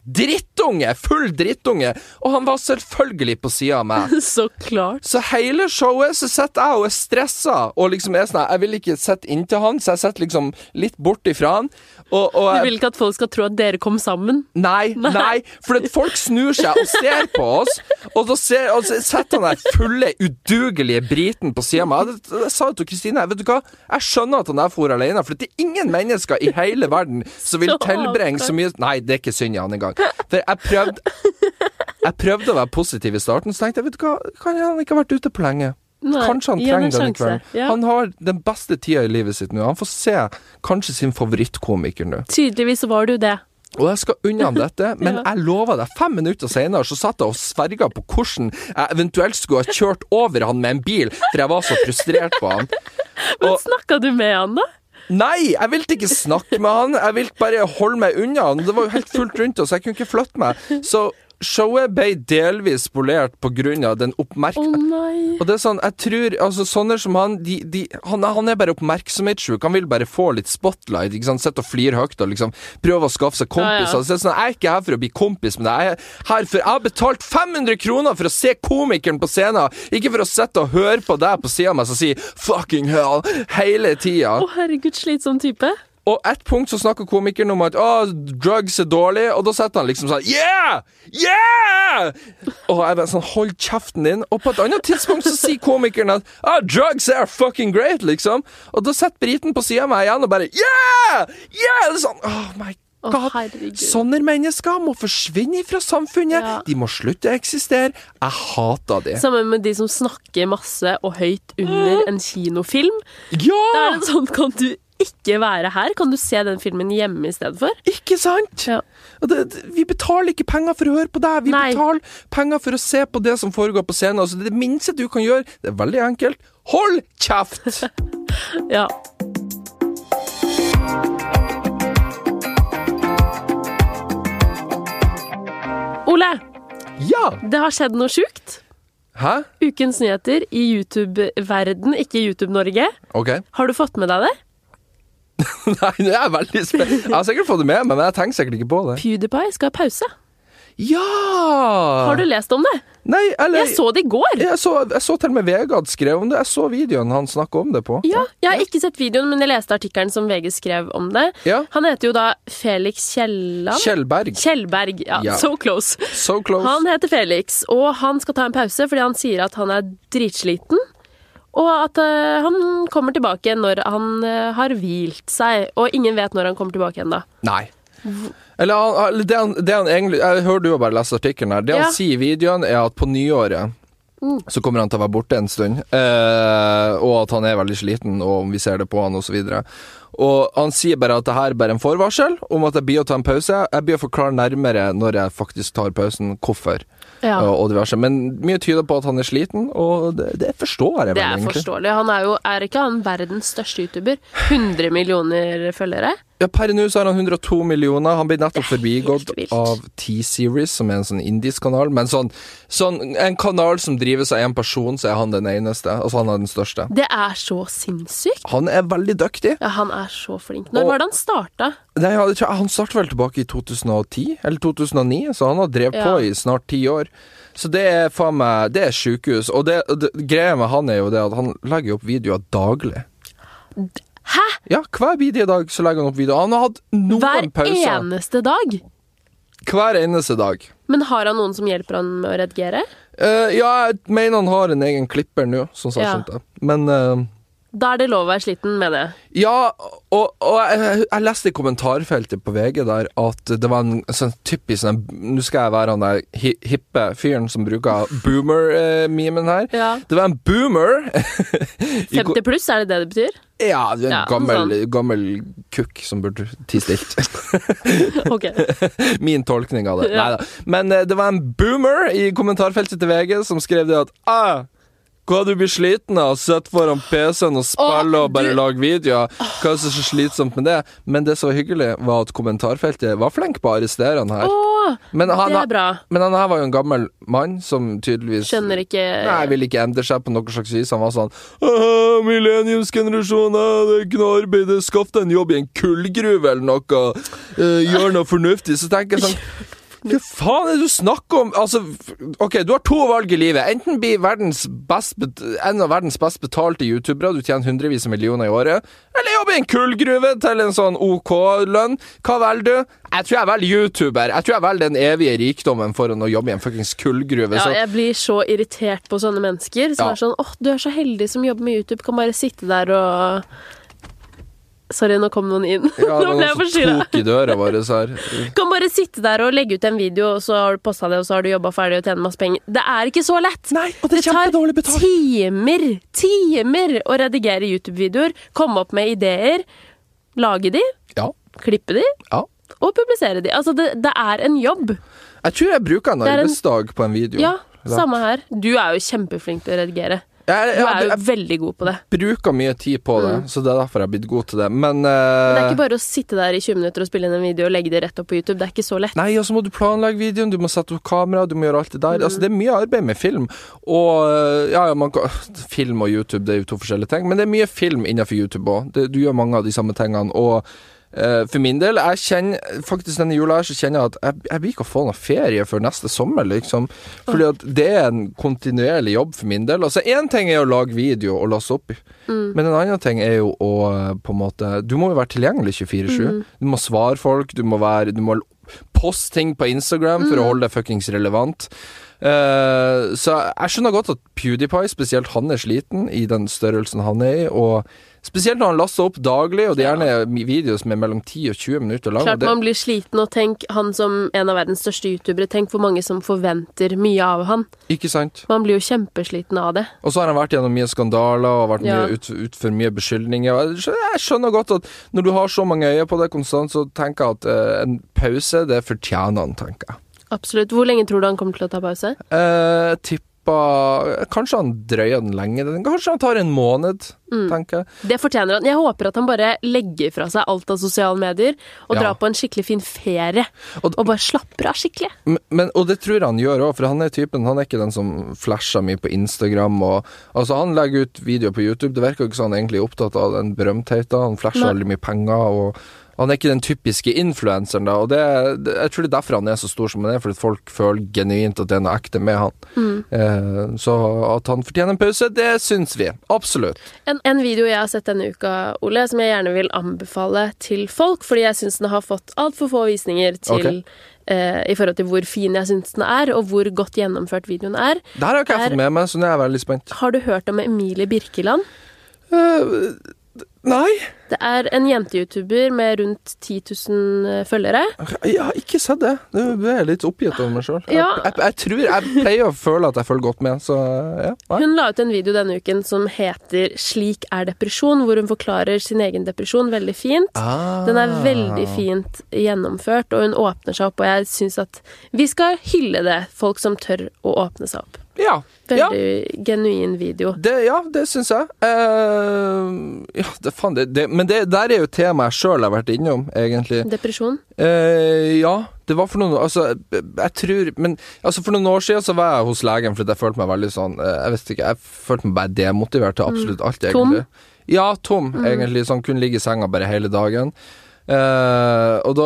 [SPEAKER 2] drittunge, full drittunge, og han var selvfølgelig på sida av meg.
[SPEAKER 1] Så klart.
[SPEAKER 2] Så hele showet så sitter jeg og er stressa, og liksom er sånn her, Jeg vil ikke sitte inntil han, så jeg sitter liksom litt bort ifra han. Og, og
[SPEAKER 1] Du
[SPEAKER 2] jeg-
[SPEAKER 1] vil ikke at folk skal tro at dere kom sammen?
[SPEAKER 2] Nei, nei, for at folk snur seg og ser på oss, og så ser, og så setter han der fulle, udugelige briten på sida av meg. Jeg, jeg sa jo til Kristine vet du hva, jeg skjønner at han der for alene, for det er ingen mennesker i hele verden som vil
[SPEAKER 1] Så
[SPEAKER 2] tilbringe så mye Nei, det er ikke synd i han engang. For jeg prøvde jeg prøvde å være positiv i starten, så tenkte jeg vet du hva, kanskje han ikke har vært ute på lenge.
[SPEAKER 1] Nei,
[SPEAKER 2] kanskje han
[SPEAKER 1] gi han en
[SPEAKER 2] trenger denne
[SPEAKER 1] sjanse,
[SPEAKER 2] kvelden.
[SPEAKER 1] ja.
[SPEAKER 2] Han har den beste tida i livet sitt nå. Han får se kanskje sin favorittkomiker nå.
[SPEAKER 1] Tydeligvis var du det.
[SPEAKER 2] Og jeg skal unna ham dette, men
[SPEAKER 1] Ja.
[SPEAKER 2] jeg lover deg, fem minutter senere så satt jeg og sverga på hvordan jeg eventuelt skulle ha kjørt over han med en bil, for jeg var så frustrert på han.
[SPEAKER 1] Men
[SPEAKER 2] Og-
[SPEAKER 1] snakka du med han, da?
[SPEAKER 2] Nei, jeg ville ikke snakke med han, jeg ville bare holde meg unna han. Det var jo helt fullt rundt oss, jeg kunne ikke flytte meg. Så showet ble delvis spolert på grunn av den
[SPEAKER 1] Å
[SPEAKER 2] oppmerksomheten
[SPEAKER 1] nei.
[SPEAKER 2] og det er sånn, jeg tror, altså Sånne som han de, de, han, han er bare oppmerksomhetssjuk. Han vil bare få litt spotlight. ikke sant? Sitte og flire høyt og liksom prøve å skaffe seg kompiser.
[SPEAKER 1] Ja, ja.
[SPEAKER 2] Så det er sånn, Jeg er ikke her for å bli kompis med deg. Jeg er her for, jeg har betalt 500 kroner for å se komikeren på scenen, ikke for å sitte og høre på deg på sida av meg som sier 'fucking hell' hele tida.
[SPEAKER 1] Å herregud, slitsom type.
[SPEAKER 2] Og ett punkt så snakker komikeren om at å, drugs er dårlig, og da setter han liksom sånn Yeah! Yeah! Og jeg bare sånn Hold kjeften din. Og på et annet tidspunkt så sier komikeren at ah, drugs are fucking great, liksom. Og da setter briten på sida av meg igjen og bare Yeah! Yeah! Det er sånn Oh my
[SPEAKER 1] Å
[SPEAKER 2] god.
[SPEAKER 1] herregud.
[SPEAKER 2] Sånne mennesker må forsvinne fra samfunnet.
[SPEAKER 1] Ja.
[SPEAKER 2] De må slutte å eksistere. Jeg hater det.
[SPEAKER 1] Sammen med de som snakker masse og høyt under en kinofilm. Da
[SPEAKER 2] Ja!
[SPEAKER 1] er det sånn, kan du ikke være her? Kan du se den filmen hjemme i stedet for?
[SPEAKER 2] Ikke sant?
[SPEAKER 1] Ja.
[SPEAKER 2] Og det, det- vi betaler ikke penger for å høre på deg, vi
[SPEAKER 1] Nei.
[SPEAKER 2] betaler penger for å se på det som foregår på scenen. Altså, det minste du kan gjøre, det er veldig enkelt. Hold kjeft!
[SPEAKER 1] Ja. Ole,
[SPEAKER 2] ja!
[SPEAKER 1] det har skjedd noe sjukt.
[SPEAKER 2] Hæ?
[SPEAKER 1] Ukens nyheter i YouTube-verden, ikke YouTube-Norge.
[SPEAKER 2] Ok.
[SPEAKER 1] Har du fått med deg det?
[SPEAKER 2] Nei, nå er jeg veldig spent. Jeg har sikkert fått det med meg, men jeg tenker sikkert ikke på det.
[SPEAKER 1] PewDiePie skal ha pause.
[SPEAKER 2] Ja!
[SPEAKER 1] Har du lest om det?
[SPEAKER 2] Nei, eller
[SPEAKER 1] Jeg så det i går.
[SPEAKER 2] jeg så, jeg så til og med Vegard skrev om det. Jeg så videoen han snakka om det på.
[SPEAKER 1] Ja, jeg har ikke sett videoen, men jeg leste artikkelen som VG skrev om det.
[SPEAKER 2] Ja.
[SPEAKER 1] Han heter jo da Felix Kielland.
[SPEAKER 2] Kjell Berg.
[SPEAKER 1] Kjellberg. Ja,
[SPEAKER 2] Ja.
[SPEAKER 1] so close.
[SPEAKER 2] So close.
[SPEAKER 1] Han heter Felix, og han skal ta en pause fordi han sier at han er dritsliten. Og at eh, han kommer tilbake når han eh, har hvilt seg. Og ingen vet når han kommer tilbake igjen, da.
[SPEAKER 2] Nei. Eller, han- eller det, han, det han egentlig Jeg hører du har bare lest artikkelen her. Det
[SPEAKER 1] Ja.
[SPEAKER 2] han sier i videoen, er at på nyåret
[SPEAKER 1] Mm.
[SPEAKER 2] så kommer han til å være borte en stund. Eh, og at han er veldig sliten, og om vi ser det på han, osv. Og han sier bare at det her er bare en forvarsel om at jeg blir å ta en pause. Jeg blir å forklare nærmere når jeg faktisk tar pausen, hvorfor.
[SPEAKER 1] Ja,
[SPEAKER 2] Og, og diverse. Men mye tyder på at han er sliten, og det, det forstår
[SPEAKER 1] Det
[SPEAKER 2] jeg vel
[SPEAKER 1] er
[SPEAKER 2] egentlig.
[SPEAKER 1] forståelig. Han er jo er ikke han verdens største YouTuber? 100 millioner følgere?
[SPEAKER 2] Ja, per nå så har han 102 millioner. Han ble nettopp
[SPEAKER 1] Det er helt
[SPEAKER 2] forbigått
[SPEAKER 1] vilt.
[SPEAKER 2] av T-Series, som er en sånn indisk kanal. Men sånn, sånn en kanal som drives av én person, så er han den eneste. Altså han er den største.
[SPEAKER 1] Det er så sinnssykt.
[SPEAKER 2] Han er veldig dyktig.
[SPEAKER 1] Ja, han er så flink. Når
[SPEAKER 2] Og-
[SPEAKER 1] var det han starta?
[SPEAKER 2] Nei, jeg tror, han startet vel tilbake i 2010, eller 2009, så han har drevet
[SPEAKER 1] Ja.
[SPEAKER 2] på i snart ti år. Så det er faen meg Det er sjukehus. Og det, og det, greia med han er jo det at han legger opp videoer daglig.
[SPEAKER 1] Hæ?
[SPEAKER 2] Ja, hver bidige dag så legger han opp video. Han har hatt noen
[SPEAKER 1] Hver
[SPEAKER 2] pauser
[SPEAKER 1] eneste dag?
[SPEAKER 2] hver eneste dag.
[SPEAKER 1] Men har han noen som hjelper han med å redigere?
[SPEAKER 2] Eh, ja, jeg mener han har en egen klipper nå, sånn som jeg
[SPEAKER 1] Ja.
[SPEAKER 2] skjønte. Men eh,
[SPEAKER 1] Da er det lov å være sliten, mener jeg.
[SPEAKER 2] Ja, og, og jeg, jeg leste i kommentarfeltet på VG der at det var en sånn typisk sånn Nå skal jeg være han der hi, hippe fyren som bruker boomer-memen her.
[SPEAKER 1] Ja.
[SPEAKER 2] Det var en boomer I ko-
[SPEAKER 1] 50 pluss, er det det det betyr?
[SPEAKER 2] Ja, det er en
[SPEAKER 1] Ja, sånn.
[SPEAKER 2] gammel, gammel kukk som burde tie stilt.
[SPEAKER 1] Ok.
[SPEAKER 2] Min tolkning av det.
[SPEAKER 1] Ja.
[SPEAKER 2] Neida. Men eh, det var en boomer i kommentarfeltet til VG som skrev det at ah, hva du blir sliten av, sitte foran PC-en og spille
[SPEAKER 1] Å,
[SPEAKER 2] og bare
[SPEAKER 1] du-
[SPEAKER 2] lage videoer. Hva er det som er så slitsomt med det? Men det som var hyggelig, var at kommentarfeltet var flink på å arrestere han her.
[SPEAKER 1] Åh,
[SPEAKER 2] Men han,
[SPEAKER 1] det er bra.
[SPEAKER 2] men han her var jo en gammel mann som tydeligvis
[SPEAKER 1] Skjønner ikke
[SPEAKER 2] Nei, ville ikke endre seg på noe slags vis. Han var sånn «Haha, Millenniumsgenerasjonen, ah, det er ikke noe arbeid, det er skaff deg en jobb i en kullgruve eller noe. eh, gjør noe fornuftig. Så tenker jeg sånn hva faen er det du snakker om? Altså, f- ok, Du har to valg i livet. Enten bli verdens best bet en av verdens best betalte youtubere, du tjener hundrevis av millioner i året, eller jobbe i en kullgruve til en sånn OK-lønn. Hva velger du? Jeg tror jeg velger youtuber. Jeg tror jeg velger den evige rikdommen foran å jobbe i en fuckings kullgruve.
[SPEAKER 1] Ja,
[SPEAKER 2] så-
[SPEAKER 1] jeg blir så irritert på sånne mennesker som
[SPEAKER 2] Ja.
[SPEAKER 1] er sånn åh, du er så heldig som jobber med YouTube, kan bare sitte der og Sorry, nå kom noen inn.
[SPEAKER 2] Ja, altså,
[SPEAKER 1] nå ble jeg
[SPEAKER 2] det var noen som
[SPEAKER 1] forstyrra.
[SPEAKER 2] tok i døra vår her.
[SPEAKER 1] Kan bare sitte der og legge ut en video, og så har du posta det, og så har du jobba ferdig og tjener masse penger. Det er ikke så lett!
[SPEAKER 2] Nei, og det er kjempedårlig betalt.
[SPEAKER 1] timer, timer å redigere YouTube-videoer, komme opp med ideer, lage de,
[SPEAKER 2] Ja,
[SPEAKER 1] klippe de
[SPEAKER 2] ja.
[SPEAKER 1] og publisere de. Altså, det, det er en jobb.
[SPEAKER 2] Jeg tror jeg bruker en
[SPEAKER 1] er en-
[SPEAKER 2] arbeidsdag på en video.
[SPEAKER 1] Ja, samme her. Du er jo kjempeflink til å redigere.
[SPEAKER 2] Jeg,
[SPEAKER 1] Du
[SPEAKER 2] jeg,
[SPEAKER 1] er
[SPEAKER 2] jeg,
[SPEAKER 1] jo veldig god på det.
[SPEAKER 2] bruker mye tid på det, så det er derfor jeg har blitt god til det. Men, eh,
[SPEAKER 1] Mm. Det er ikke bare å sitte der i 20 minutter og spille inn en video og legge det rett opp på YouTube. Det er ikke så lett.
[SPEAKER 2] Nei, og så må du planlegge videoen, du må sette opp kamera, du må gjøre alt det der. Altså, det er mye arbeid med film. Og eh, ja, ja, man kan Film og YouTube, det er jo to forskjellige ting, men det er mye film innenfor YouTube òg. Du gjør mange av de samme tingene. Og eh, for min del, jeg kjenner faktisk denne jula her, så kjenner jeg at jeg, jeg blir ikke å få noe ferie før neste sommer, liksom. Fordi at det er en kontinuerlig jobb for min del. Altså, én ting er å lage video og laste opp, men en annen ting er jo å eh, på en måte Du må jo være tilgjengelig 24-7. Du må svare folk, du må være Du må poste ting på Instagram
[SPEAKER 1] Mm.
[SPEAKER 2] for å holde det fuckings relevant. Eh, så jeg skjønner godt at PewDiePie, spesielt han er sliten i den størrelsen han er i, og spesielt når han laster opp daglig, og det er gjerne videoer som er mellom 10 og 20 minutter lange.
[SPEAKER 1] Klart
[SPEAKER 2] Det,
[SPEAKER 1] man blir sliten, og tenk han som en av verdens største youtubere, tenk hvor mange som forventer mye av han.
[SPEAKER 2] ikke sant?
[SPEAKER 1] Man blir jo kjempesliten av det.
[SPEAKER 2] Og så har han vært gjennom mye skandaler og vært
[SPEAKER 1] Ja.
[SPEAKER 2] mye ut, ut for mye beskyldninger. Og Jeg skjønner, jeg skjønner godt at når du har så mange øyne på deg konstant, så tenker jeg at eh, en pause, det fortjener han, tenker jeg.
[SPEAKER 1] Absolutt. Hvor lenge tror du han kommer til å ta pause?
[SPEAKER 2] Eh, tippa Kanskje han drøyer den lenge. Den- Kanskje han tar en måned,
[SPEAKER 1] Mm.
[SPEAKER 2] tenker jeg.
[SPEAKER 1] Det fortjener han. Jeg håper at han bare legger fra seg alt av sosiale medier og
[SPEAKER 2] Ja.
[SPEAKER 1] drar på en skikkelig fin ferie.
[SPEAKER 2] Og-
[SPEAKER 1] Og, bare slapper av skikkelig.
[SPEAKER 2] M- Men, og det tror jeg han gjør òg, for han er typen Han er ikke den som flasher mye på Instagram. Og, altså Han legger ut videoer på YouTube. Det virker jo ikke som han egentlig er opptatt av den berømtheten. Han flasher
[SPEAKER 1] Nei.
[SPEAKER 2] veldig mye penger. Og han er ikke den typiske influenseren, da. Og det, det, jeg tror det er derfor han er så stor som han er, fordi folk føler genuint at det er noe ekte med han.
[SPEAKER 1] Mm.
[SPEAKER 2] Eh, så at han fortjener en pause, det syns vi. Absolutt.
[SPEAKER 1] En, en video jeg har sett denne uka, Ole, som jeg gjerne vil anbefale til folk, fordi jeg syns den har fått altfor få visninger til
[SPEAKER 2] Ok.
[SPEAKER 1] eh, I forhold til hvor fin jeg syns den er, og hvor godt gjennomført videoen er.
[SPEAKER 2] Det her har ikke jeg
[SPEAKER 1] Er-
[SPEAKER 2] fått med meg, så nå er jeg veldig spent.
[SPEAKER 1] Har du hørt om Emilie Birkeland?
[SPEAKER 2] Eh, nei.
[SPEAKER 1] Det er en jente-youtuber med rundt 10 000 følgere.
[SPEAKER 2] Jeg har ikke sett det. Nå ble jeg litt oppgitt over meg sjøl.
[SPEAKER 1] Ja.
[SPEAKER 2] Jeg, jeg, jeg tror Jeg pleier å føle at jeg følger godt med, så ja. Nei.
[SPEAKER 1] Hun la ut en video denne uken som heter 'Slik er depresjon', hvor hun forklarer sin egen depresjon veldig fint. Den er
[SPEAKER 2] Ah.
[SPEAKER 1] veldig fint gjennomført, og hun åpner seg opp, og jeg syns at vi skal hylle det, folk som tør å åpne seg opp.
[SPEAKER 2] Ja.
[SPEAKER 1] Veldig genuin video.
[SPEAKER 2] Det, ja, det syns jeg. Eh, ja, det, faen, det, det, men det der er jo temaet jeg sjøl har vært innom, egentlig.
[SPEAKER 1] Depresjon.
[SPEAKER 2] Eh, ja, det var for noen Altså, jeg tror Men altså, for noen år siden så var jeg hos legen fordi jeg følte meg veldig sånn eh, Jeg vet ikke, jeg følte meg bare demotivert til absolutt alt,
[SPEAKER 1] Tom?
[SPEAKER 2] egentlig. Ja, tom, egentlig. Sånn kunne ligge i senga bare hele dagen. Eh, og da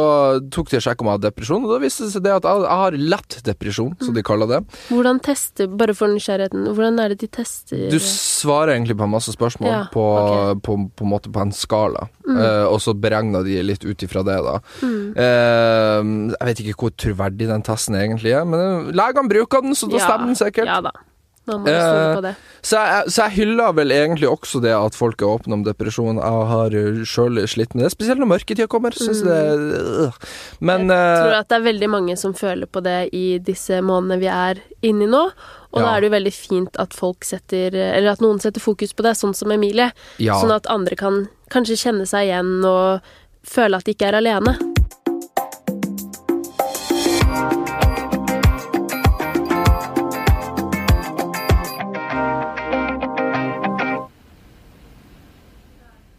[SPEAKER 2] tok de og sjekka om jeg hadde depresjon, og da viste det seg det at jeg, jeg har lett depresjon, som de kaller det.
[SPEAKER 1] Hvordan tester Bare for nysgjerrigheten, hvordan er det de tester
[SPEAKER 2] Du svarer egentlig på en masse spørsmål
[SPEAKER 1] Ja,
[SPEAKER 2] på,
[SPEAKER 1] ok. Mm.
[SPEAKER 2] på, på en måte på en skala, Eh, og så beregner de litt ut ifra det, da. Eh, jeg vet ikke hvor troverdig den testen egentlig er, men eh, legene bruker den, så da stemmer den sikkert.
[SPEAKER 1] Ja da. Man må stole
[SPEAKER 2] Eh,
[SPEAKER 1] på det.
[SPEAKER 2] Så, jeg, så jeg hyller vel egentlig også det at folk er åpne om depresjon. Jeg har sjøl slitt med det, spesielt når mørketida kommer. Synes det, øh. Men
[SPEAKER 1] Mm. Jeg tror
[SPEAKER 2] eh,
[SPEAKER 1] at det er veldig mange som føler på det i disse månedene vi er inni nå. Og da
[SPEAKER 2] Ja.
[SPEAKER 1] er det jo veldig fint at folk setter Eller at noen setter fokus på det, sånn som Emilie.
[SPEAKER 2] ja.
[SPEAKER 1] Sånn at andre kan kanskje kjenne seg igjen og føle at de ikke er alene.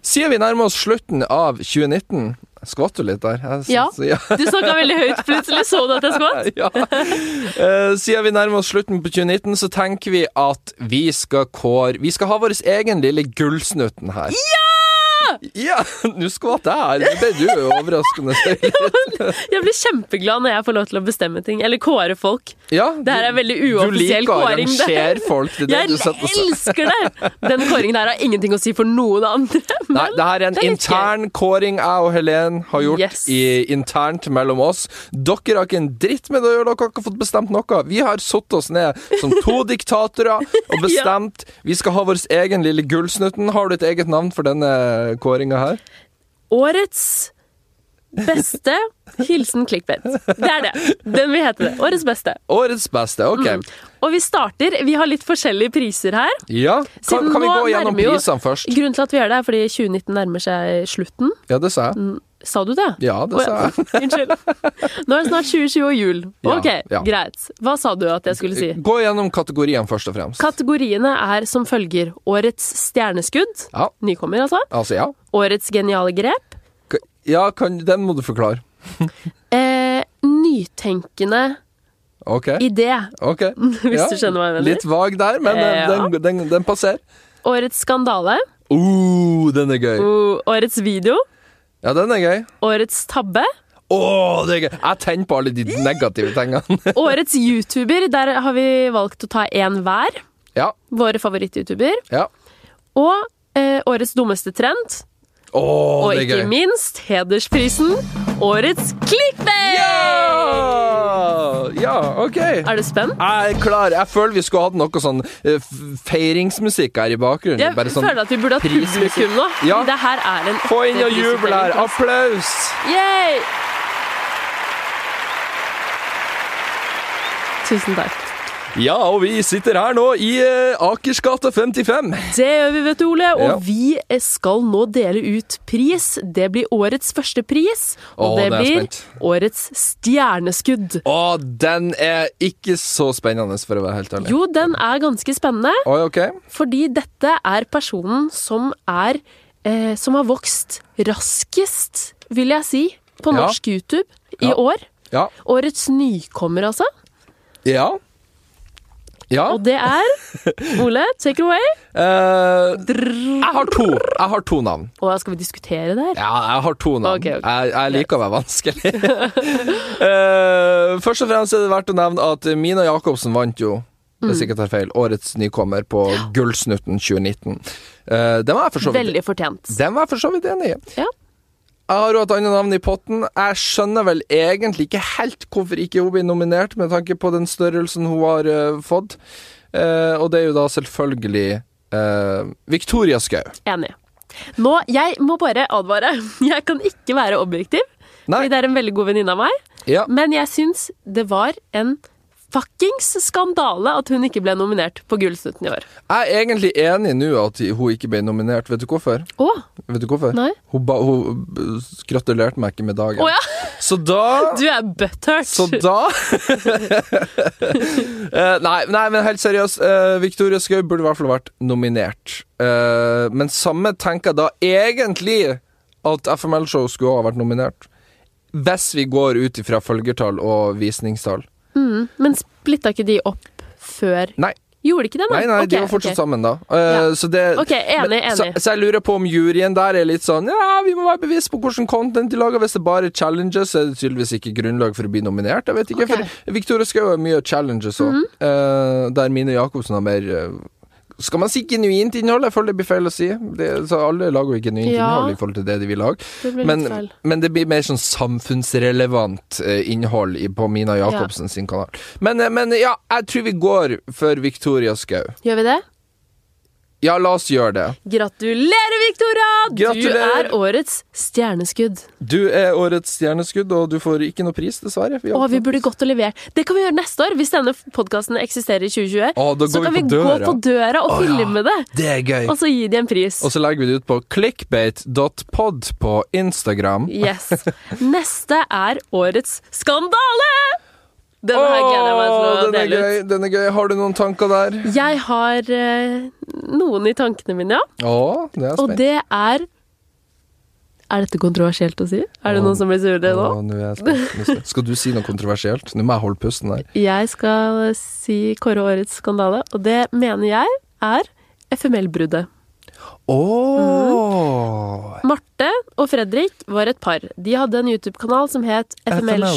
[SPEAKER 2] Siden vi nærmer oss slutten av 2019 Jeg skvatt jo litt der. Jeg,
[SPEAKER 1] Ja.
[SPEAKER 2] synes- ja.
[SPEAKER 1] Du snakka veldig høyt, plutselig så du at jeg skvatt.
[SPEAKER 2] ja. Eh, siden vi nærmer oss slutten på 2019, så tenker vi at vi skal kåre Vi skal ha vår egen lille gullsnutten her. Ja! Ja, Nå skvatt jeg. Det ble du jo overraskende stille.
[SPEAKER 1] Jeg blir kjempeglad når jeg får lov til å bestemme ting, eller kåre folk.
[SPEAKER 2] Ja,
[SPEAKER 1] Det her er veldig uoffisiell
[SPEAKER 2] Du liker å
[SPEAKER 1] kåring, det.
[SPEAKER 2] arrangere folk. Det er det
[SPEAKER 1] Jeg
[SPEAKER 2] du setter på seg.
[SPEAKER 1] elsker det! Den kåringen her har ingenting å si for noen andre.
[SPEAKER 2] Nei, det her er en
[SPEAKER 1] det er litt
[SPEAKER 2] intern kåring jeg og Helen har gjort
[SPEAKER 1] Yes.
[SPEAKER 2] i, internt mellom oss. Dere har ikke en dritt med det å gjøre, dere har ikke fått bestemt noe. Vi har satt oss ned som to diktatorer og bestemt. Vi skal ha vår egen lille gullsnutten. Har du et eget navn for denne kåringa her?
[SPEAKER 1] Årets beste hilsen clickbait. Det er det. Den vil hete det. Årets beste.
[SPEAKER 2] Årets beste, OK.
[SPEAKER 1] Og vi starter Vi har litt forskjellige priser her.
[SPEAKER 2] Ja, kan,
[SPEAKER 1] Siden
[SPEAKER 2] kan vi
[SPEAKER 1] nå
[SPEAKER 2] gå gjennom
[SPEAKER 1] nærmer jo-
[SPEAKER 2] prisene først?
[SPEAKER 1] Grunnen til at vi gjør det, er fordi 2019 nærmer seg slutten.
[SPEAKER 2] Ja, det sa
[SPEAKER 1] Mm.
[SPEAKER 2] jeg.
[SPEAKER 1] Sa du det?
[SPEAKER 2] Ja, det sa jeg.
[SPEAKER 1] Unnskyld. Nå er det snart 2020 og jul.
[SPEAKER 2] Altså. Ja,
[SPEAKER 1] Ok,
[SPEAKER 2] ja.
[SPEAKER 1] greit. Hva sa du at jeg skulle si?
[SPEAKER 2] Gå gjennom kategoriene først og fremst.
[SPEAKER 1] Kategoriene er som følger Årets stjerneskudd,
[SPEAKER 2] Ja,
[SPEAKER 1] nykommer altså,
[SPEAKER 2] altså, ja.
[SPEAKER 1] Årets geniale grep,
[SPEAKER 2] K- Ja, kan, den må du forklare.
[SPEAKER 1] eh, nytenkende
[SPEAKER 2] OK.
[SPEAKER 1] idé,
[SPEAKER 2] Ok.
[SPEAKER 1] hvis du skjønner hva jeg mener.
[SPEAKER 2] Litt vag der, men eh,
[SPEAKER 1] Ja.
[SPEAKER 2] den, den, den passerer.
[SPEAKER 1] Årets skandale,
[SPEAKER 2] Uh, den er gøy.
[SPEAKER 1] o- Årets video,
[SPEAKER 2] Ja, den er gøy.
[SPEAKER 1] Årets tabbe,
[SPEAKER 2] Å, det er gøy. Jeg tenner på alle de negative tingene.
[SPEAKER 1] Årets YouTuber, der har vi valgt å ta én hver,
[SPEAKER 2] ja,
[SPEAKER 1] våre favoritt-YouTuber,
[SPEAKER 2] ja.
[SPEAKER 1] og eh, Årets dummeste trend,
[SPEAKER 2] Å,
[SPEAKER 1] og
[SPEAKER 2] det er
[SPEAKER 1] ikke
[SPEAKER 2] gøy.
[SPEAKER 1] minst hedersprisen Årets clickbait!
[SPEAKER 2] Ja! ja, OK.
[SPEAKER 1] Er du spent?
[SPEAKER 2] Jeg er klar. Jeg føler vi skulle hatt noe sånn eh, f- feiringsmusikk her i bakgrunnen.
[SPEAKER 1] Jeg
[SPEAKER 2] Bare sånn
[SPEAKER 1] føler at vi burde hatt
[SPEAKER 2] prismusikk.
[SPEAKER 1] publikum nå.
[SPEAKER 2] Ja.
[SPEAKER 1] Det her er en
[SPEAKER 2] Få inn
[SPEAKER 1] ekte
[SPEAKER 2] og jubel
[SPEAKER 1] prisutdeling.
[SPEAKER 2] her. Applaus!
[SPEAKER 1] Yay! Tusen takk.
[SPEAKER 2] Ja, og vi sitter her nå i eh, Akersgata 55.
[SPEAKER 1] Det gjør vi, vet du, Ole. Og
[SPEAKER 2] Ja.
[SPEAKER 1] vi skal nå dele ut pris. Det blir årets første pris. Og
[SPEAKER 2] Å,
[SPEAKER 1] det
[SPEAKER 2] det er
[SPEAKER 1] blir
[SPEAKER 2] spent.
[SPEAKER 1] årets stjerneskudd.
[SPEAKER 2] Å, den er ikke så spennende, for å være helt ærlig.
[SPEAKER 1] Jo, den er ganske spennende,
[SPEAKER 2] Oi, ok.
[SPEAKER 1] fordi dette er personen som er eh, Som har vokst raskest, vil jeg si, på
[SPEAKER 2] Ja.
[SPEAKER 1] norsk YouTube i
[SPEAKER 2] Ja.
[SPEAKER 1] år.
[SPEAKER 2] Ja.
[SPEAKER 1] Årets nykommer, altså.
[SPEAKER 2] Ja. Ja.
[SPEAKER 1] Og det er Ole, take it away.
[SPEAKER 2] Eh, jeg har to. Jeg har to navn.
[SPEAKER 1] Og skal vi diskutere det her?
[SPEAKER 2] Ja, jeg har to navn.
[SPEAKER 1] Ok, ok.
[SPEAKER 2] Jeg, jeg liker å være vanskelig. Eh, først og fremst er det verdt å nevne at Mina Jacobsen vant jo,
[SPEAKER 1] Mm.
[SPEAKER 2] hvis jeg ikke tar feil, årets nykommer på Gullsnutten 2019. Eh, den var jeg for så vidt
[SPEAKER 1] Veldig fortjent.
[SPEAKER 2] den var jeg for så vidt enig i.
[SPEAKER 1] Ja.
[SPEAKER 2] Jeg har jo et annet navn i potten. Jeg skjønner vel egentlig ikke helt hvorfor ikke hun blir nominert, med tanke på den størrelsen hun har eh, fått. Eh, og det er jo da selvfølgelig eh, Victoria Skau.
[SPEAKER 1] Enig. Nå, Jeg må bare advare. Jeg kan ikke være objektiv.
[SPEAKER 2] Nei.
[SPEAKER 1] Fordi det er en veldig god venninne av meg.
[SPEAKER 2] Ja.
[SPEAKER 1] Men jeg syns det var en fuckings skandale at hun ikke ble nominert på Gullsnutten i år.
[SPEAKER 2] Jeg er egentlig enig nå at hun ikke ble nominert. Vet du hvorfor?
[SPEAKER 1] Å,
[SPEAKER 2] Vet du hvorfor?
[SPEAKER 1] nei.
[SPEAKER 2] Hun, ba, hun b- gratulerte meg ikke med dagen.
[SPEAKER 1] Å ja,
[SPEAKER 2] Så da
[SPEAKER 1] du er butthurt.
[SPEAKER 2] Så da Eh, nei, nei, men helt seriøst. eh, Victoria Skau burde i hvert fall vært nominert. Eh, men samme tenker jeg da egentlig at FML-show skulle ha vært nominert. Hvis vi går ut ifra følgertall og visningstall.
[SPEAKER 1] Mm, men splitta ikke de opp før
[SPEAKER 2] Nei.
[SPEAKER 1] Gjorde ikke det,
[SPEAKER 2] Nei, nei, de var fortsatt sammen, da. Eh,
[SPEAKER 1] Mm, Ja.
[SPEAKER 2] Så det
[SPEAKER 1] Ok, enig,
[SPEAKER 2] Men- Så,
[SPEAKER 1] enig.
[SPEAKER 2] så jeg lurer på om juryen der er litt sånn Ja, vi må være bevisst på hvordan content de lager. Hvis det bare er challenges, så er det tydeligvis ikke grunnlag for å bli nominert. Jeg vet ikke,
[SPEAKER 1] Ok. Mhm.
[SPEAKER 2] for Victoria Skau har mye challenges òg, der Mine Jacobsen har mer eh, skal man si genuint innhold? Jeg føler det blir feil å si. Det, så Alle lager jo genuint
[SPEAKER 1] Ja.
[SPEAKER 2] innhold i forhold til det de vil lage.
[SPEAKER 1] Det ble litt
[SPEAKER 2] Men,
[SPEAKER 1] feil.
[SPEAKER 2] men det blir mer sånn samfunnsrelevant eh, innhold i, på Mina Jacobsen sin kanal. Men, eh, men ja, jeg tror vi går for Victoria Skau.
[SPEAKER 1] Gjør vi det?
[SPEAKER 2] Ja, la oss gjøre det.
[SPEAKER 1] Gratulerer, Victoria!
[SPEAKER 2] Gratulerer.
[SPEAKER 1] Du er årets stjerneskudd.
[SPEAKER 2] Du er årets stjerneskudd, og du får ikke noe pris, dessverre. Vi
[SPEAKER 1] Å, vi burde gått og levert. Det kan vi gjøre neste år, hvis denne podkasten eksisterer i 2020.
[SPEAKER 2] Å, da
[SPEAKER 1] så
[SPEAKER 2] går
[SPEAKER 1] kan
[SPEAKER 2] vi
[SPEAKER 1] vi
[SPEAKER 2] på
[SPEAKER 1] gå
[SPEAKER 2] døra.
[SPEAKER 1] på døra og
[SPEAKER 2] Å, ja.
[SPEAKER 1] filme det,
[SPEAKER 2] Det er gøy.
[SPEAKER 1] og så gi de en pris.
[SPEAKER 2] Og så legger vi det ut på clickbate.pod på Instagram.
[SPEAKER 1] Yes. Neste er årets skandale! Denne her gleder jeg meg til
[SPEAKER 2] Åh,
[SPEAKER 1] å
[SPEAKER 2] den er
[SPEAKER 1] dele ut.
[SPEAKER 2] gøy, den er gøy. Har du noen tanker der?
[SPEAKER 1] Jeg har eh, noen i tankene mine, ja.
[SPEAKER 2] Å, det er
[SPEAKER 1] Og
[SPEAKER 2] spennende.
[SPEAKER 1] det er Er dette kontroversielt å si? Er det
[SPEAKER 2] Å.
[SPEAKER 1] noen som blir sure nå?
[SPEAKER 2] Å, nå er jeg spent. Nå er jeg spent. Skal du si noe kontroversielt? Nå må jeg holde pusten her.
[SPEAKER 1] Jeg skal si kåre årets skandale, og det mener jeg er FML-bruddet. Mm.
[SPEAKER 2] Åh
[SPEAKER 1] Marte og Fredrik var et par. De hadde en YouTube-kanal som het FML Show.
[SPEAKER 2] FML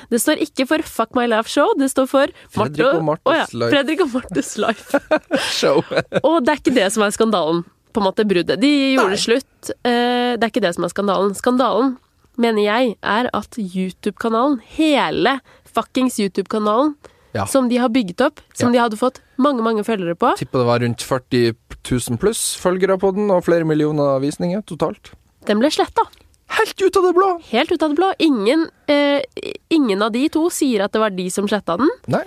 [SPEAKER 2] Show.
[SPEAKER 1] Det står ikke for Fuck My Life Show, det står for Marte
[SPEAKER 2] Fredrik og Martes
[SPEAKER 1] Å ja,
[SPEAKER 2] Life.
[SPEAKER 1] Fredrik og Martes Life.
[SPEAKER 2] Show.
[SPEAKER 1] Og det er ikke det som er skandalen. På en måte bruddet. De gjorde slutt. Eh, Det er ikke det som er skandalen. Skandalen, mener jeg, er at YouTube-kanalen, hele fuckings YouTube-kanalen,
[SPEAKER 2] Ja.
[SPEAKER 1] som de har bygget opp, som
[SPEAKER 2] Ja.
[SPEAKER 1] de hadde fått mange, mange følgere på,
[SPEAKER 2] Tipper det var rundt 40 000 pluss følgere på den, og flere millioner visninger totalt.
[SPEAKER 1] den ble sletta.
[SPEAKER 2] Helt ut av det blå!
[SPEAKER 1] Helt ut av det blå. Ingen, eh, ingen av de to sier at det var de som sletta den.
[SPEAKER 2] Nei.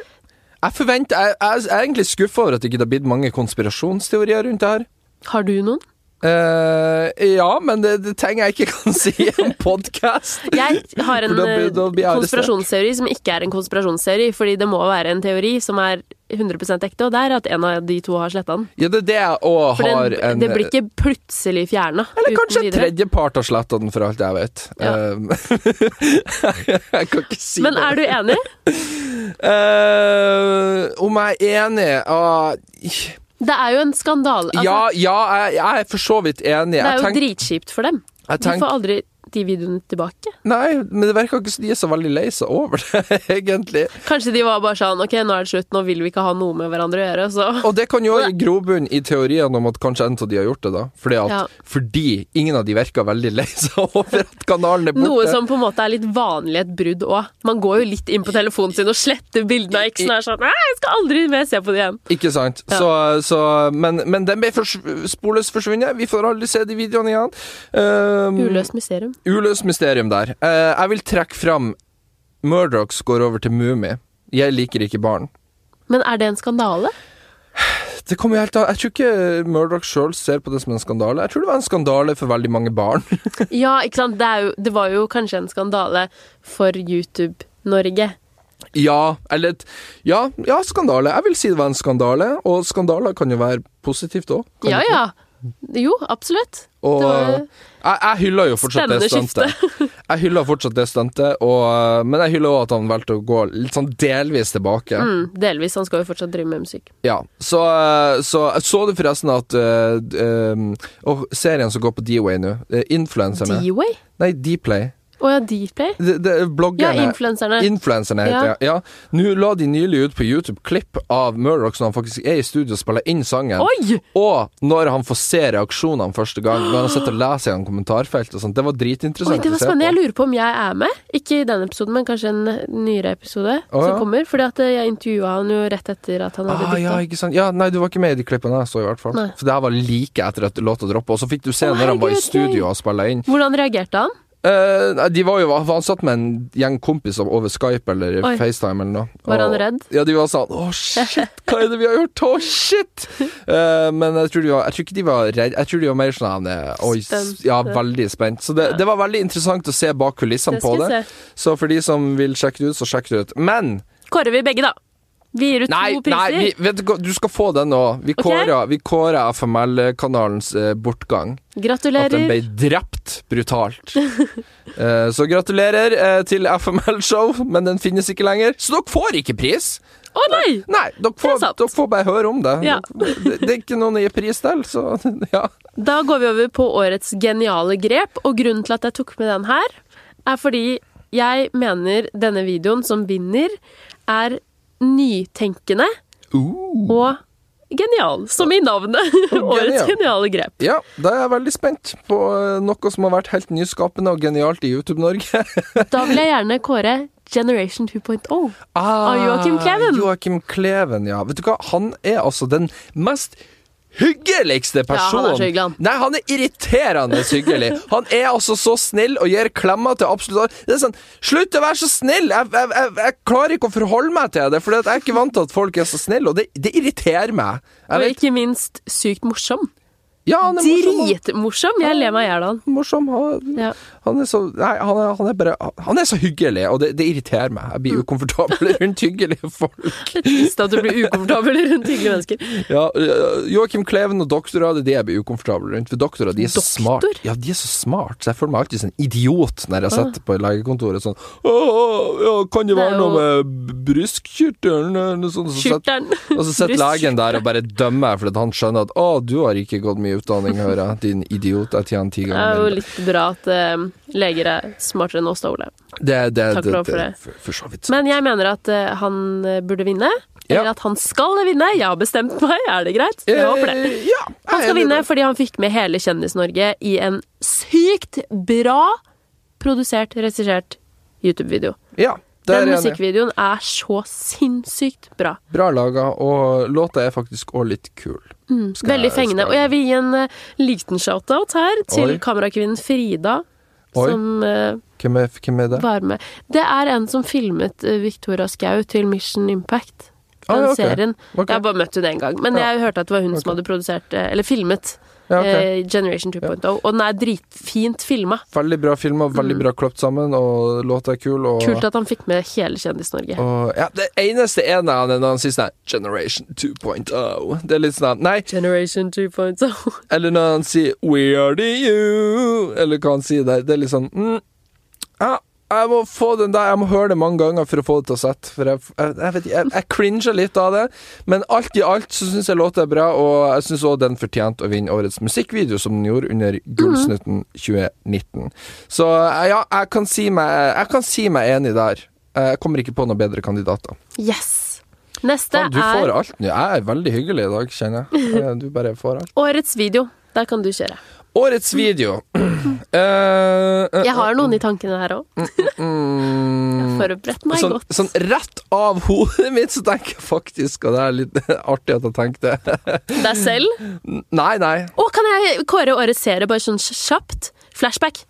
[SPEAKER 2] Jeg forventer Jeg, jeg, jeg er egentlig skuffa over at det ikke har blitt mange konspirasjonsteorier rundt det her.
[SPEAKER 1] Har du noen?
[SPEAKER 2] Eh, ja, men det, det trenger jeg ikke kan si i en podkast.
[SPEAKER 1] Jeg har en
[SPEAKER 2] For da blir-
[SPEAKER 1] eh,
[SPEAKER 2] da blir jeg arrestert.
[SPEAKER 1] konspirasjonsteori som ikke er en konspirasjonsteori, fordi det må være en teori som er 100 ekte, og det er at en av de to har sletta den.
[SPEAKER 2] Ja, det er det jeg òg
[SPEAKER 1] For
[SPEAKER 2] har
[SPEAKER 1] den,
[SPEAKER 2] en
[SPEAKER 1] det blir ikke plutselig fjerna.
[SPEAKER 2] Eller kanskje en tredjepart har sletta den, for alt jeg vet.
[SPEAKER 1] Ja.
[SPEAKER 2] Eh, jeg kan ikke si
[SPEAKER 1] Men er du enig?
[SPEAKER 2] Eh, om jeg er enig ah,
[SPEAKER 1] Det er jo en skandale. Altså,
[SPEAKER 2] Ja, ja, jeg, jeg er for så vidt enig.
[SPEAKER 1] det er
[SPEAKER 2] Jeg
[SPEAKER 1] jo
[SPEAKER 2] tenk-
[SPEAKER 1] dritkjipt for dem.
[SPEAKER 2] jeg
[SPEAKER 1] De
[SPEAKER 2] tenk-
[SPEAKER 1] får aldri de videoene tilbake.
[SPEAKER 2] Nei, men det virker ikke som de er så veldig lei seg over det, egentlig.
[SPEAKER 1] Kanskje de var bare sånn Ok, nå er det slutt, nå vil vi ikke ha noe med hverandre å gjøre. Så
[SPEAKER 2] Og det kan jo gi grobunn i teorien om at kanskje en av de har gjort det, da. Fordi, at,
[SPEAKER 1] Ja.
[SPEAKER 2] fordi ingen av de virker veldig lei seg over at kanalen er borte.
[SPEAKER 1] Noe som på en måte er litt vanlig i et brudd òg. Man går jo litt inn på telefonen sin og sletter bildene av eksen og er sånn Nei, jeg skal aldri mer se på det igjen.
[SPEAKER 2] Ikke sant.
[SPEAKER 1] Ja.
[SPEAKER 2] Så, så, men, men den ble fors sporløst forsvunnet. Vi får aldri se de videoene igjen. Um,
[SPEAKER 1] Uløst mysterium.
[SPEAKER 2] uløst mysterium der. Eh, jeg vil trekke fram Murdochs går over til Mummi. Jeg liker ikke barn.
[SPEAKER 1] Men er det en skandale?
[SPEAKER 2] Det kommer jo helt an Jeg tror ikke Murdoch sjøl ser på det som en skandale. Jeg tror det var en skandale for veldig mange barn.
[SPEAKER 1] Ja, ikke sant. Det, er jo, det var jo kanskje en skandale for YouTube-Norge.
[SPEAKER 2] Ja, eller et- ja, ja, skandale. Jeg vil si det var en skandale, og skandaler kan jo være positivt òg.
[SPEAKER 1] Ja ja. Jo, absolutt.
[SPEAKER 2] Og
[SPEAKER 1] Det var-
[SPEAKER 2] eh, jeg, jeg hyller jo fortsatt det
[SPEAKER 1] Spennende
[SPEAKER 2] stuntet. Jeg hyller fortsatt det stuntet, og, eh, men jeg hyller òg at han valgte å gå litt sånn delvis tilbake.
[SPEAKER 1] Mm, delvis. Han skal jo fortsatt drive med musikk.
[SPEAKER 2] Ja, så, eh, så så du forresten at eh, d- eh, Og serien som går på D-Way nå, eh, influencerne
[SPEAKER 1] D-Way?
[SPEAKER 2] Nei, D-Play.
[SPEAKER 1] Å ja, Dplay?
[SPEAKER 2] Det- det-
[SPEAKER 1] Ja,
[SPEAKER 2] Bloggerne.
[SPEAKER 1] influenserne.
[SPEAKER 2] Influencerne heter
[SPEAKER 1] Eh. Ja.
[SPEAKER 2] det, ja. Nå la de nylig ut på YouTube klipp av Murdoch når han faktisk er i studio og spiller inn sangen.
[SPEAKER 1] Oi!
[SPEAKER 2] Og når han får se reaksjonene første gang, når han sitter og leser gjennom kommentarfeltet og sånt. Det var
[SPEAKER 1] Oi,
[SPEAKER 2] dritinteressant
[SPEAKER 1] det var
[SPEAKER 2] å se
[SPEAKER 1] spennende. Jeg
[SPEAKER 2] på.
[SPEAKER 1] lurer på om jeg er med. Ikke i denne episoden, men kanskje en nyere episode
[SPEAKER 2] Å, ja.
[SPEAKER 1] som kommer. Fordi at eh, jeg intervjua han jo rett etter at han hadde
[SPEAKER 2] Ah,
[SPEAKER 1] bytta.
[SPEAKER 2] ja, ikke sant. Ja, nei, du var ikke med i de klippene jeg så, i hvert fall.
[SPEAKER 1] Nei.
[SPEAKER 2] For det her var like etter at låta droppa, og så fikk du se
[SPEAKER 1] Å,
[SPEAKER 2] når han var i
[SPEAKER 1] herregud,
[SPEAKER 2] studio
[SPEAKER 1] gøy.
[SPEAKER 2] og spilla inn.
[SPEAKER 1] Hvordan reagerte han?
[SPEAKER 2] Eh, nei, de var jo var ansatt med en gjeng kompiser over Skype eller
[SPEAKER 1] Oi.
[SPEAKER 2] FaceTime eller noe.
[SPEAKER 1] Var han
[SPEAKER 2] Og-
[SPEAKER 1] redd?
[SPEAKER 2] Ja, de var sånn Å, shit, hva er det vi har gjort? Å, shit! Eh, men jeg tror, de var, jeg tror ikke de var redd. Jeg tror de var mer sånn eh, Oi, s-
[SPEAKER 1] Spent.
[SPEAKER 2] ja, veldig spent. Så det, det var veldig interessant å se bak kulissene
[SPEAKER 1] Det
[SPEAKER 2] på
[SPEAKER 1] skal
[SPEAKER 2] det.
[SPEAKER 1] vi se.
[SPEAKER 2] Så for de som vil sjekke det ut, så sjekk det ut. Men
[SPEAKER 1] Kårer vi begge, da? Vi gir ut
[SPEAKER 2] Nei,
[SPEAKER 1] to
[SPEAKER 2] nei
[SPEAKER 1] priser.
[SPEAKER 2] vi, vet du, hva, du skal få den òg. Vi
[SPEAKER 1] Ok.
[SPEAKER 2] kårer- vi kårer FML-kanalens eh, bortgang. At den
[SPEAKER 1] Gratulerer.
[SPEAKER 2] ble drept brutalt. Eh, så gratulerer eh, til FML-show, men den finnes ikke lenger. Så dere får ikke pris!
[SPEAKER 1] Å nei!
[SPEAKER 2] Nei, dere får,
[SPEAKER 1] Det er sant.
[SPEAKER 2] dere får bare høre om det.
[SPEAKER 1] Ja.
[SPEAKER 2] det. Det er ikke noen å gi pris til, så ja.
[SPEAKER 1] Da går vi over på årets geniale grep, og grunnen til at jeg tok med den her, er fordi jeg mener denne videoen som vinner, er nytenkende og genial. Som i navnet. Årets geniale grep.
[SPEAKER 2] Ja, da er jeg veldig spent på eh, noe som har vært helt nyskapende og genialt i YouTube-Norge.
[SPEAKER 1] Da vil jeg gjerne kåre Generation 2.0.
[SPEAKER 2] Ah,
[SPEAKER 1] Av Joachim Kleven.
[SPEAKER 2] Joachim Kleven, ja. Vet du hva, han er altså den mest hyggeligste
[SPEAKER 1] Ja, han
[SPEAKER 2] personen.
[SPEAKER 1] er så hyggelig, han.
[SPEAKER 2] Nei, han er irriterende hyggelig. Han er altså så snill og gir klemmer til absolutt alle. Det er sånn, slutt å være så snill! Jeg, jeg, jeg, jeg klarer ikke å forholde meg til det, for jeg er ikke vant til at folk er så snille, og det, det irriterer meg. Jeg
[SPEAKER 1] Og
[SPEAKER 2] vet,
[SPEAKER 1] ikke minst sykt morsom.
[SPEAKER 2] ja, han er morsom.
[SPEAKER 1] Dritmorsom! Jeg ler meg i hjel av han.
[SPEAKER 2] han. Morsom. Han,
[SPEAKER 1] Ja.
[SPEAKER 2] han er så Nei, han er, han er bare Han er så hyggelig, og det, det irriterer meg. Jeg
[SPEAKER 1] Mm.
[SPEAKER 2] blir ukomfortabel rundt hyggelige folk.
[SPEAKER 1] Litt trist at du blir ukomfortabel rundt hyggelige mennesker.
[SPEAKER 2] Ja, øh, Joakim Kleven og doktorer, det er det jeg blir ukomfortabel rundt. For doktorer, de er så
[SPEAKER 1] Doktor?
[SPEAKER 2] smart. Ja, de er så smart, så jeg føler meg alltid som en idiot når jeg sitter på legekontoret sånn «Åh, åh, ja, kan det
[SPEAKER 1] Det er
[SPEAKER 2] være noe med brystkirtelen eller noe sånt?» Så sitter-
[SPEAKER 1] Skjorteren.
[SPEAKER 2] Og så sitter
[SPEAKER 1] Brystkjortelen.
[SPEAKER 2] legen der og bare dømmer, fordi han skjønner at 'Å, du har ikke gått mye utdanning, hører jeg, din idiot, jeg tjener ti
[SPEAKER 1] Det er jo
[SPEAKER 2] ganger mindre'.
[SPEAKER 1] litt bra at eh, leger er smartere enn oss, da, Ole.
[SPEAKER 2] Det, det,
[SPEAKER 1] Takk og lov for det.
[SPEAKER 2] For, for så vidt.
[SPEAKER 1] Men jeg mener at eh, han eh, burde vinne. Eller
[SPEAKER 2] Ja.
[SPEAKER 1] at han skal vinne. Jeg har bestemt meg, er det greit? Jeg håper det.
[SPEAKER 2] Eh, ja,
[SPEAKER 1] Han skal
[SPEAKER 2] jeg er enig i
[SPEAKER 1] vinne
[SPEAKER 2] det.
[SPEAKER 1] fordi han fikk med hele Kjendis-Norge i en sykt bra produsert, regissert YouTube-video.
[SPEAKER 2] Ja, der er
[SPEAKER 1] Den
[SPEAKER 2] jeg enig.
[SPEAKER 1] musikkvideoen er så sinnssykt bra.
[SPEAKER 2] Bra laga, og låta er faktisk òg litt kul. Skal jeg-
[SPEAKER 1] Mm, Veldig
[SPEAKER 2] skal
[SPEAKER 1] fengende.
[SPEAKER 2] jeg-
[SPEAKER 1] Og jeg vil gi en eh, liten shout-out her til
[SPEAKER 2] Oi.
[SPEAKER 1] kamerakvinnen Frida,
[SPEAKER 2] Oi.
[SPEAKER 1] som eh,
[SPEAKER 2] Hvem er, hvem er det?
[SPEAKER 1] var med. Det er en som filmet eh, Victoria Skau til Mission Impact.
[SPEAKER 2] Ah,
[SPEAKER 1] Den
[SPEAKER 2] ja, ok.
[SPEAKER 1] serien.
[SPEAKER 2] Ok.
[SPEAKER 1] Jeg har bare møtt henne én gang, men
[SPEAKER 2] Ja.
[SPEAKER 1] jeg hørte at det var hun
[SPEAKER 2] Ok.
[SPEAKER 1] som hadde produsert, eh, eller filmet,
[SPEAKER 2] Ja, ok.
[SPEAKER 1] eh, Generation 2.0. Og den er dritfint filma.
[SPEAKER 2] Veldig bra film, og veldig bra kløpt sammen, og låta er kul. Og,
[SPEAKER 1] mm. Kult at han fikk med hele Kjendis-Norge.
[SPEAKER 2] og ja, Det eneste ene han er når han sier sånn her, Generation 2.0. Det er litt sånn her, Nei,
[SPEAKER 1] Generation oh. 2.0.
[SPEAKER 2] eller når han sier We are the you, eller hva han sier der. Det er litt sånn mm, ja, jeg må få den der, jeg må høre det mange ganger for å få det til å sette. For jeg, jeg, jeg vet ikke, jeg, jeg cringer litt av det. Men alt i alt så syns jeg låta er bra, og jeg syns òg den fortjente å vinne årets musikkvideo, som den gjorde under Gullsnutten 2019. Så eh, ja, jeg kan si meg, jeg kan si meg enig der. Eh, Jeg kommer ikke på noen bedre kandidater.
[SPEAKER 1] Yes! Neste
[SPEAKER 2] Faen, du får
[SPEAKER 1] er
[SPEAKER 2] alt nå. Jeg er veldig hyggelig i dag, kjenner jeg. Eh, Du bare får alt.
[SPEAKER 1] årets video. Der kan du kjøre.
[SPEAKER 2] Årets video. Eh, eh,
[SPEAKER 1] Jeg har noen i tankene her òg.
[SPEAKER 2] mm,
[SPEAKER 1] Forberedt meg
[SPEAKER 2] sånn,
[SPEAKER 1] godt.
[SPEAKER 2] sånn rett av hodet mitt, så tenker jeg faktisk Og det er litt artig at jeg tenkte det.
[SPEAKER 1] Deg selv.
[SPEAKER 2] Nei, nei.
[SPEAKER 1] Å, kan jeg kåre årets serie bare sånn kjapt? Flashback.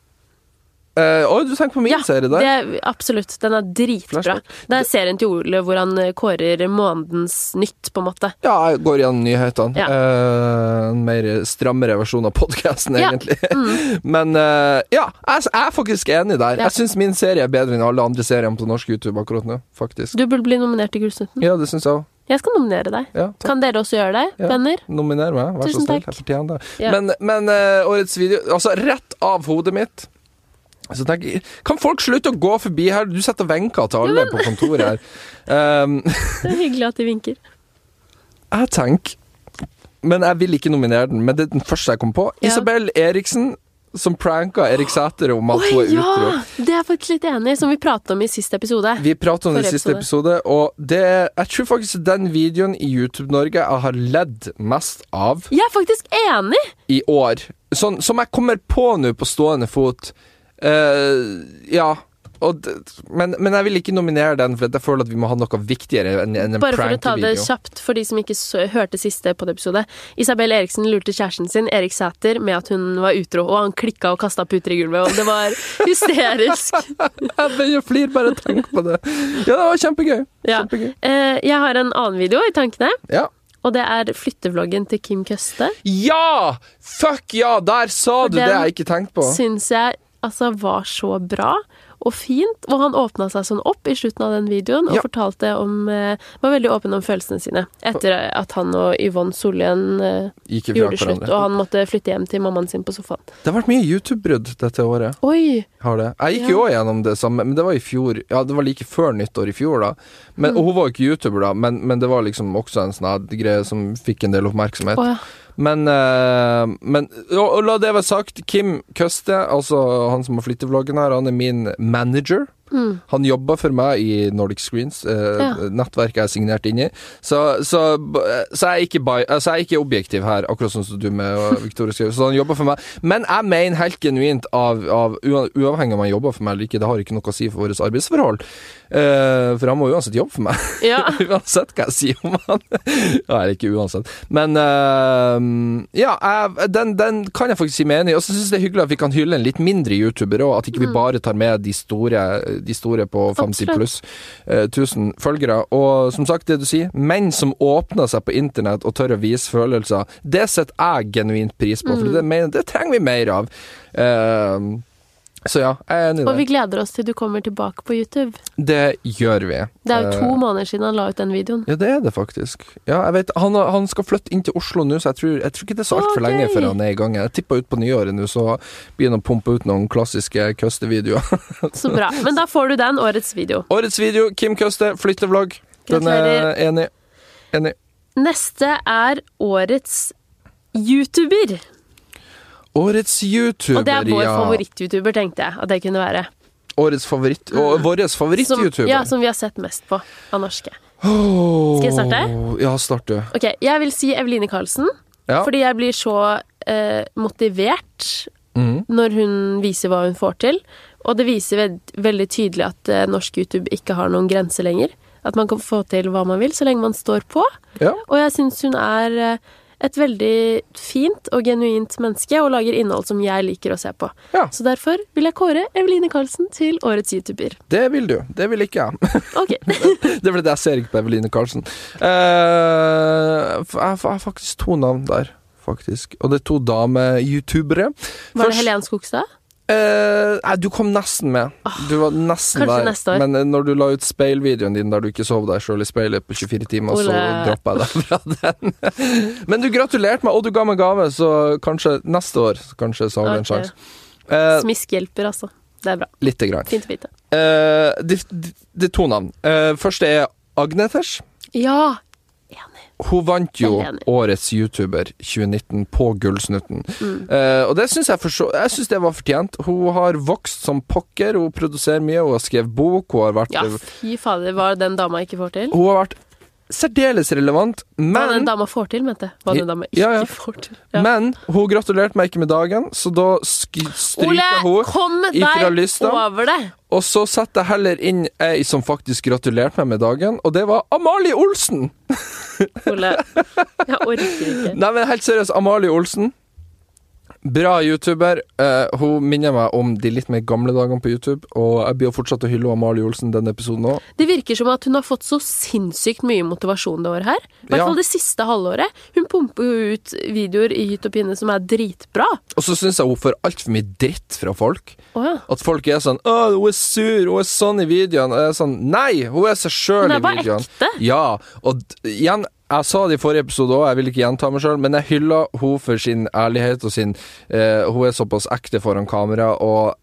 [SPEAKER 2] Eh, Å, du tenker på min serie der?
[SPEAKER 1] det er, absolutt. Den er dritbra.
[SPEAKER 2] Flashback.
[SPEAKER 1] Det er serien til Ole hvor han eh, kårer månedens nytt, på en måte.
[SPEAKER 2] Ja, jeg går gjennom nyhetene.
[SPEAKER 1] Ja.
[SPEAKER 2] Eh, en mer strammere versjon av podkasten,
[SPEAKER 1] Ja. mm.
[SPEAKER 2] egentlig. Men eh, ja, jeg, jeg er faktisk enig der.
[SPEAKER 1] Ja.
[SPEAKER 2] Jeg syns min serie er bedre enn alle andre seriene på norsk YouTube akkurat nå, faktisk.
[SPEAKER 1] Du burde bli nominert til Gullsnutten.
[SPEAKER 2] Ja, det syns jeg òg.
[SPEAKER 1] Jeg skal nominere deg.
[SPEAKER 2] Ja, takk.
[SPEAKER 1] Kan dere også gjøre det,
[SPEAKER 2] Ja.
[SPEAKER 1] venner?
[SPEAKER 2] Nominer meg, vær
[SPEAKER 1] Tusen
[SPEAKER 2] så snill.
[SPEAKER 1] takk.
[SPEAKER 2] Jeg fortjener det.
[SPEAKER 1] Ja.
[SPEAKER 2] Men, men eh, årets video Altså, rett av hodet mitt så tenker jeg, Kan folk slutte å gå forbi her? Du sitter og venker til alle på kontoret her. Um,
[SPEAKER 1] Det er hyggelig at de vinker.
[SPEAKER 2] jeg tenker Men jeg vil ikke nominere den, men det er den første jeg kom på.
[SPEAKER 1] Ja.
[SPEAKER 2] Isabel Eriksen som pranka Erik Sæter om at
[SPEAKER 1] Oi,
[SPEAKER 2] hun er
[SPEAKER 1] ja!
[SPEAKER 2] utro.
[SPEAKER 1] Det er jeg faktisk litt enig i, som vi pratet om i siste episode.
[SPEAKER 2] Vi pratet om det i
[SPEAKER 1] Forrige
[SPEAKER 2] siste episode, og det, jeg tror faktisk den videoen i YouTube-Norge jeg har ledd mest av
[SPEAKER 1] Jeg er faktisk enig!
[SPEAKER 2] i år. Sånn som jeg kommer på nå på stående fot. Eh, ja. og, d- men, men jeg vil ikke nominere den, for jeg føler at vi må ha noe viktigere enn enn en
[SPEAKER 1] Bare for å ta det
[SPEAKER 2] prank-video.
[SPEAKER 1] kjapt for de som ikke så, hørte siste podiepisode. Isabel Eriksen lurte kjæresten sin, Erik Sæter, med at hun var utro, og han klikka og kasta puter i gulvet, og det var hysterisk.
[SPEAKER 2] Jeg begynner å flire bare av tanken på det. Ja, det var kjempegøy.
[SPEAKER 1] Ja.
[SPEAKER 2] kjempegøy.
[SPEAKER 1] Eh, Jeg har en annen video i tankene,
[SPEAKER 2] Ja.
[SPEAKER 1] og det er flyttevloggen til Kim Køste.
[SPEAKER 2] ja! Fuck ja! Der sa
[SPEAKER 1] For
[SPEAKER 2] du det
[SPEAKER 1] den
[SPEAKER 2] jeg ikke tenkte på.
[SPEAKER 1] Syns jeg altså var så bra. Og fint, og han åpna seg sånn opp i slutten av den videoen og
[SPEAKER 2] Ja.
[SPEAKER 1] fortalte om eh, Var veldig åpen om følelsene sine etter at han og Yvonne Sollien eh,
[SPEAKER 2] Gikk ifra
[SPEAKER 1] gjorde slutt, og
[SPEAKER 2] hverandre.
[SPEAKER 1] han måtte flytte hjem til mammaen sin på sofaen.
[SPEAKER 2] Det har vært mye YouTube-brudd dette året.
[SPEAKER 1] Oi!
[SPEAKER 2] Har det. Jeg
[SPEAKER 1] Ja.
[SPEAKER 2] gikk jo òg gjennom det samme, men det var i fjor. Ja, det var like før nyttår i fjor, da. Men, Og hun var jo ikke YouTuber, da, men, men det var liksom også en sånn her greie som fikk en del oppmerksomhet.
[SPEAKER 1] Å, ja.
[SPEAKER 2] Men, eh, men og, og la det være sagt, Kim Køste, altså han som har flyttevloggen her, han er min manager.
[SPEAKER 1] Mm.
[SPEAKER 2] Han jobba for meg i Nordic Screens, eh,
[SPEAKER 1] Ja.
[SPEAKER 2] nettverket jeg er signert inn i. Så, så, så, jeg er ikke bi, altså jeg er ikke objektiv her, akkurat sånn som du med og Victoria skrev. Så han jobber for meg. Men jeg mener helt genuint, av, av, ua- uavhengig om han jobber for meg eller ikke, det har ikke noe å si for våre arbeidsforhold. Eh, for han må uansett jobbe for meg.
[SPEAKER 1] ja.
[SPEAKER 2] Uansett hva jeg sier om han. Ja, Eller ikke uansett. Men eh, ja, jeg, den, den kan jeg faktisk si meg enig i. Og så syns jeg det er hyggelig at vi kan hylle en litt mindre youtuber òg. At ikke vi bare tar med de store, de store på 50
[SPEAKER 1] Mm. Absolutt.
[SPEAKER 2] pluss eh, 1000 følgere. Og som sagt, det du sier, menn som åpner seg på internett og tør å vise følelser, det setter jeg genuint pris
[SPEAKER 1] Mm.
[SPEAKER 2] på. For det, mener, det trenger vi mer av. Eh, så ja, jeg er enig
[SPEAKER 1] Og
[SPEAKER 2] i
[SPEAKER 1] vi gleder oss til du kommer tilbake på YouTube.
[SPEAKER 2] det. Det gjør vi.
[SPEAKER 1] Det er jo
[SPEAKER 2] Eh,
[SPEAKER 1] to måneder siden han la ut den videoen.
[SPEAKER 2] ja, det er det faktisk. Ja, jeg vet, han, har- han skal flytte inn til Oslo nå, så jeg tror, jeg tror ikke det er så
[SPEAKER 1] Å,
[SPEAKER 2] altfor lenge
[SPEAKER 1] gøy.
[SPEAKER 2] før han er i gang. Jeg tippa ut på nyåret nå, så begynner han å pumpe ut noen klassiske Køste-videoer.
[SPEAKER 1] Så bra. Men da får du den, årets video.
[SPEAKER 2] Årets video, Kim Køste, flyttevlogg. Den er
[SPEAKER 1] Gratulerer.
[SPEAKER 2] enig. Enig.
[SPEAKER 1] Neste er årets YouTuber.
[SPEAKER 2] Årets YouTuber,
[SPEAKER 1] Og det er vår
[SPEAKER 2] ja.
[SPEAKER 1] favoritt-YouTuber, tenkte jeg at det kunne være.
[SPEAKER 2] Årets favoritt Og vår
[SPEAKER 1] Mm. Som,
[SPEAKER 2] favoritt-YouTuber.
[SPEAKER 1] ja, som vi har sett mest på av norske.
[SPEAKER 2] Åh,
[SPEAKER 1] Skal jeg starte?
[SPEAKER 2] Ja, start du.
[SPEAKER 1] Ok, Jeg vil si Eveline Karlsen,
[SPEAKER 2] Ja.
[SPEAKER 1] fordi jeg blir så eh, motivert
[SPEAKER 2] Mhm.
[SPEAKER 1] når hun viser hva hun får til. Og det viser veld, veldig tydelig at eh, norsk YouTube ikke har noen grenser lenger. At man kan få til hva man vil så lenge man står på.
[SPEAKER 2] ja.
[SPEAKER 1] Og jeg syns hun er eh, et veldig fint og genuint menneske og lager innhold som jeg liker å se på.
[SPEAKER 2] Ja.
[SPEAKER 1] Så derfor vil jeg kåre Eveline Karlsen til årets YouTuber.
[SPEAKER 2] Det vil du. Det vil ikke jeg.
[SPEAKER 1] Ok,
[SPEAKER 2] Det er fordi jeg ser ikke på Eveline Karlsen. Eh, f- jeg f- jeg har faktisk to navn der, faktisk. Og det er to dame-youtubere.
[SPEAKER 1] Var det
[SPEAKER 2] Først-
[SPEAKER 1] Helen Skogstad?
[SPEAKER 2] Eh, nei, du kom nesten med. Du var nesten
[SPEAKER 1] Ah, kanskje
[SPEAKER 2] der.
[SPEAKER 1] neste år.
[SPEAKER 2] Men eh, når du la ut speilvideoen din der du ikke sov deg sjøl i speilet på 24 timer, så
[SPEAKER 1] Ole.
[SPEAKER 2] droppa jeg deg fra den. Men du gratulerte meg, og du ga meg gave, så kanskje neste år så kanskje så har du en
[SPEAKER 1] Ok.
[SPEAKER 2] sjanse. Eh,
[SPEAKER 1] Smisk hjelper, altså. Det er bra.
[SPEAKER 2] Lite grann.
[SPEAKER 1] Fint å vite.
[SPEAKER 2] Eh, det, det, det er to navn. Eh, første er Agnetesh.
[SPEAKER 1] Ja! Enig.
[SPEAKER 2] Hun vant jo
[SPEAKER 1] Veldig enig.
[SPEAKER 2] Årets YouTuber 2019 på Gullsnutten.
[SPEAKER 1] Mm.
[SPEAKER 2] Eh, og det syns jeg, for så- jeg synes det var fortjent. Hun har vokst som pokker, hun produserer mye, hun har skrevet bok, hun har vært,
[SPEAKER 1] Ja, fy fader, hva den dama ikke får til.
[SPEAKER 2] hun har vært særdeles relevant,
[SPEAKER 1] Hva den
[SPEAKER 2] men
[SPEAKER 1] dama får til, mente jeg. Hva den dama ikke
[SPEAKER 2] Ja, ja.
[SPEAKER 1] får til. Ja.
[SPEAKER 2] Men hun gratulerte meg ikke med dagen, så da sk
[SPEAKER 1] Ole,
[SPEAKER 2] stryker hun.
[SPEAKER 1] kom
[SPEAKER 2] ifra
[SPEAKER 1] deg
[SPEAKER 2] lista.
[SPEAKER 1] over det!
[SPEAKER 2] Og så setter jeg heller inn ei som faktisk gratulerte meg med dagen, og det var Amalie Olsen!
[SPEAKER 1] Ole, jeg orker ikke.
[SPEAKER 2] Nei, men helt seriøst, Amalie Olsen. Bra YouTuber. Eh, hun minner meg om de litt mer gamle dagene på YouTube. Og jeg blir jo fortsatt å hylle Amalie Olsen denne episoden òg.
[SPEAKER 1] Det virker som at hun har fått så sinnssykt mye motivasjon det året her. I hvert
[SPEAKER 2] Ja.
[SPEAKER 1] fall det siste halvåret. Hun pumper jo ut videoer i hytt og pinne som er dritbra.
[SPEAKER 2] Og så syns jeg hun får altfor mye dritt fra folk.
[SPEAKER 1] Å ja.
[SPEAKER 2] At folk er sånn 'Å, hun er sur, hun er sånn i videoen'. Og jeg er sånn Nei! Hun er seg sjøl
[SPEAKER 1] Hun
[SPEAKER 2] i
[SPEAKER 1] er bare
[SPEAKER 2] videoen.
[SPEAKER 1] ekte.
[SPEAKER 2] Ja. Og d- igjen, jeg sa det i forrige episode òg, jeg vil ikke gjenta meg sjøl, men jeg hyller hun for sin ærlighet og sin eh, Hun er såpass ekte foran kamera, og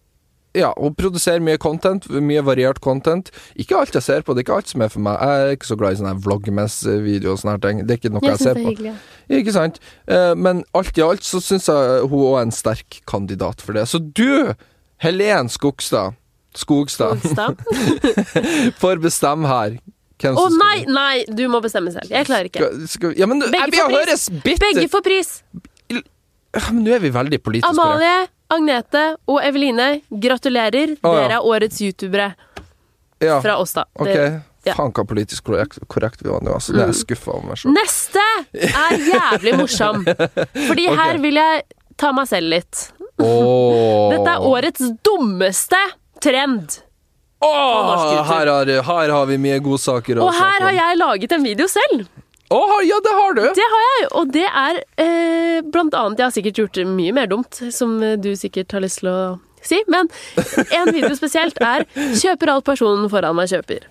[SPEAKER 2] ja, hun produserer mye content, mye variert content. Ikke alt jeg ser på, det er ikke alt som er for meg. Jeg er ikke så glad i sånne her vloggmess-videoer og sånne her ting. Det er ikke noe jeg,
[SPEAKER 1] Jeg syns det
[SPEAKER 2] ser
[SPEAKER 1] er
[SPEAKER 2] på.
[SPEAKER 1] hyggelig. ja.
[SPEAKER 2] Ikke sant? Eh, Men alt i alt så syns jeg hun òg er en sterk kandidat for det. Så du, Helen Skogstad, Skogstad,
[SPEAKER 1] Onsdag.
[SPEAKER 2] får bestemme her. Hvem
[SPEAKER 1] Å
[SPEAKER 2] som skal-
[SPEAKER 1] nei, nei! Du må bestemme selv. Jeg klarer ikke.
[SPEAKER 2] Skal, skal, ja, men
[SPEAKER 1] Begge
[SPEAKER 2] jeg
[SPEAKER 1] får
[SPEAKER 2] vil
[SPEAKER 1] pris.
[SPEAKER 2] høres bitte Ah,
[SPEAKER 1] Begge får pris!
[SPEAKER 2] Ja, men Nå er vi veldig politisk korrekt.
[SPEAKER 1] Amalie, Agnete og Eveline, gratulerer.
[SPEAKER 2] Å, ja.
[SPEAKER 1] Dere er årets youtubere
[SPEAKER 2] Ja,
[SPEAKER 1] fra oss, da.
[SPEAKER 2] ok.
[SPEAKER 1] Dere- ja. Mm.
[SPEAKER 2] Faen hva politisk korrekt, korrekt vi var nå, altså. Det er jeg skuffa over meg sjøl.
[SPEAKER 1] Neste er jævlig morsom. Fordi her vil jeg ta meg selv litt. Dette er årets dummeste trend. norsk
[SPEAKER 2] Åh,
[SPEAKER 1] YouTube.
[SPEAKER 2] her, har, her har vi mye godsaker. å
[SPEAKER 1] Og
[SPEAKER 2] snakke
[SPEAKER 1] her
[SPEAKER 2] om.
[SPEAKER 1] har jeg laget en video selv.
[SPEAKER 2] Åh, ja, det har du!
[SPEAKER 1] Det har jeg, og det er eh, blant annet Jeg har sikkert gjort mye mer dumt, som eh, du sikkert har lyst til å si, men en video spesielt er 'Kjøper alt personen foran meg kjøper'.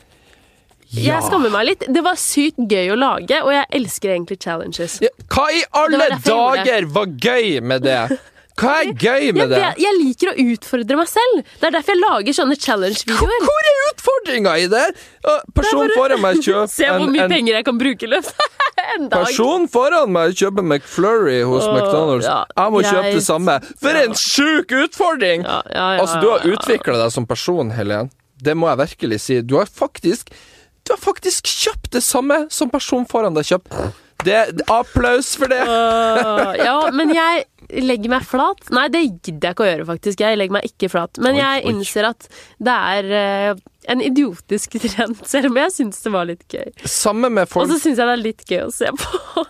[SPEAKER 2] Ja.
[SPEAKER 1] Jeg skammer meg litt. Det var sykt gøy å lage, og jeg elsker egentlig challenges.
[SPEAKER 2] Ja, hva i alle
[SPEAKER 1] Det var derfor jeg
[SPEAKER 2] dager var gøy med det? Hva er gøy
[SPEAKER 1] Jeg,
[SPEAKER 2] med det?
[SPEAKER 1] vet- jeg liker å utfordre meg selv. Det er derfor jeg lager sånne challenge-videoer.
[SPEAKER 2] Hvor er utfordringa i det? Å, Person foran meg
[SPEAKER 1] Se
[SPEAKER 2] kjøper
[SPEAKER 1] hvor
[SPEAKER 2] en,
[SPEAKER 1] mye
[SPEAKER 2] en
[SPEAKER 1] penger jeg kan bruke i løpet av en dag.
[SPEAKER 2] Person foran meg kjøper McFlurry hos
[SPEAKER 1] Åh,
[SPEAKER 2] McDonald's.
[SPEAKER 1] ja,
[SPEAKER 2] Jeg må kjøpe
[SPEAKER 1] jeg-
[SPEAKER 2] det samme. For en sjuk utfordring!
[SPEAKER 1] Ja, ja, ja,
[SPEAKER 2] Altså, du har
[SPEAKER 1] ja, ja.
[SPEAKER 2] utvikla deg som person, Helen. Det må jeg virkelig si. Du har faktisk Du har faktisk kjøpt det samme som person foran deg kjøpte. Det, det, applaus for det!
[SPEAKER 1] Åh, ja, men jeg legger meg flat. Nei, det gidder jeg ikke å gjøre, faktisk. Jeg legger meg ikke flat. Men
[SPEAKER 2] Oi,
[SPEAKER 1] jeg
[SPEAKER 2] oi.
[SPEAKER 1] innser at det er eh, en idiotisk trend, selv om jeg syns det var litt gøy.
[SPEAKER 2] Samme med
[SPEAKER 1] Og
[SPEAKER 2] folk
[SPEAKER 1] så syns jeg det er litt gøy å se på.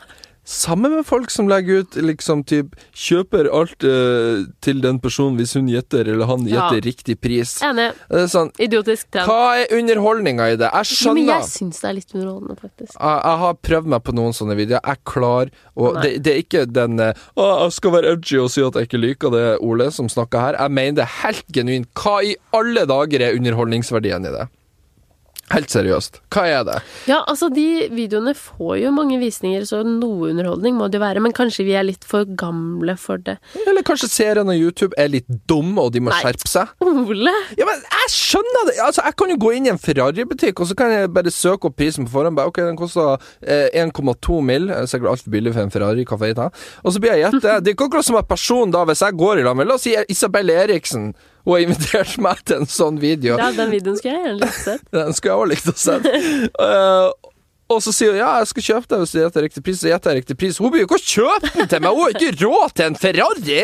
[SPEAKER 2] Samme med folk som legger ut liksom typ Kjøper alt eh, til den personen hvis hun gjetter eller han
[SPEAKER 1] Ja.
[SPEAKER 2] gjetter riktig pris.
[SPEAKER 1] Enig.
[SPEAKER 2] Det er sånn
[SPEAKER 1] Idiotisk trend.
[SPEAKER 2] Hva er underholdninga i det? Jeg
[SPEAKER 1] Jo,
[SPEAKER 2] skjønner
[SPEAKER 1] men jeg syns det er litt underholdende, faktisk.
[SPEAKER 2] jeg, jeg har prøvd meg på noen sånne videoer. Jeg klar, og
[SPEAKER 1] Nei.
[SPEAKER 2] det, det er ikke den eh, Å, jeg skal være edgy og si at jeg ikke liker det Ole som snakker her. Jeg mener det helt genuint. Hva i alle dager er underholdningsverdien i det? Helt seriøst. Hva er det?
[SPEAKER 1] Ja, altså, de videoene får jo mange visninger, så noe underholdning må det jo være. Men kanskje vi er litt for gamle for det.
[SPEAKER 2] Eller kanskje seerne og YouTube er litt dumme, og de må
[SPEAKER 1] Nei.
[SPEAKER 2] skjerpe seg?
[SPEAKER 1] Ole!
[SPEAKER 2] Ja, men jeg skjønner det! Altså, jeg kan jo gå inn i en Ferrari-butikk, og så kan jeg bare søke opp prisen på forhånd. Bare, ok, den koster eh, 1,2 mill. Det er Sikkert altfor billig for en Ferrari. Hva faen heter det? Og så blir jeg gjette. Det er ikke akkurat som at personen da, hvis jeg går i lag med La oss si Isabel Eriksen. Hun har invitert meg til en sånn video.
[SPEAKER 1] Ja, den videoen skulle jeg gjerne likt sett.
[SPEAKER 2] Den skulle jeg også likt å se. Eh, og så sier hun ja, jeg skal kjøpe den hvis du gjetter riktig pris. Så gjetter jeg riktig pris. Hun blir jo ikke å kjøpe den til meg! Hun har ikke råd til en Ferrari!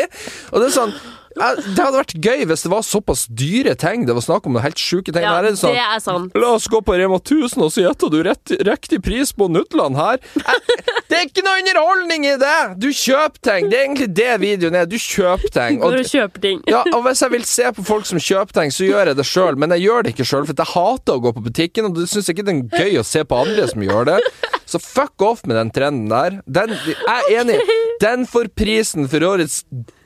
[SPEAKER 2] Og det er sånn jeg- Det hadde vært gøy hvis det var såpass dyre ting. Det var snakk om noen helt sjuke ting.
[SPEAKER 1] Ja,
[SPEAKER 2] Her er det sånn
[SPEAKER 1] det er sant.
[SPEAKER 2] La oss gå på Rema 1000, og så gjetter du rett, riktig pris på Nutland her. Jeg- Det er ikke noe underholdning i det! Du kjøper ting. Det er egentlig det videoen er. Du kjøper ting.
[SPEAKER 1] Går og kjøper ting.
[SPEAKER 2] Ja, og Hvis jeg vil se på folk som kjøper ting, så gjør jeg det sjøl. Men jeg gjør det ikke sjøl, for jeg hater å gå på butikken, og det syns ikke det er gøy å se på andre som gjør det. Så fuck off med den trenden der. Den, jeg er enig. Den får prisen for årets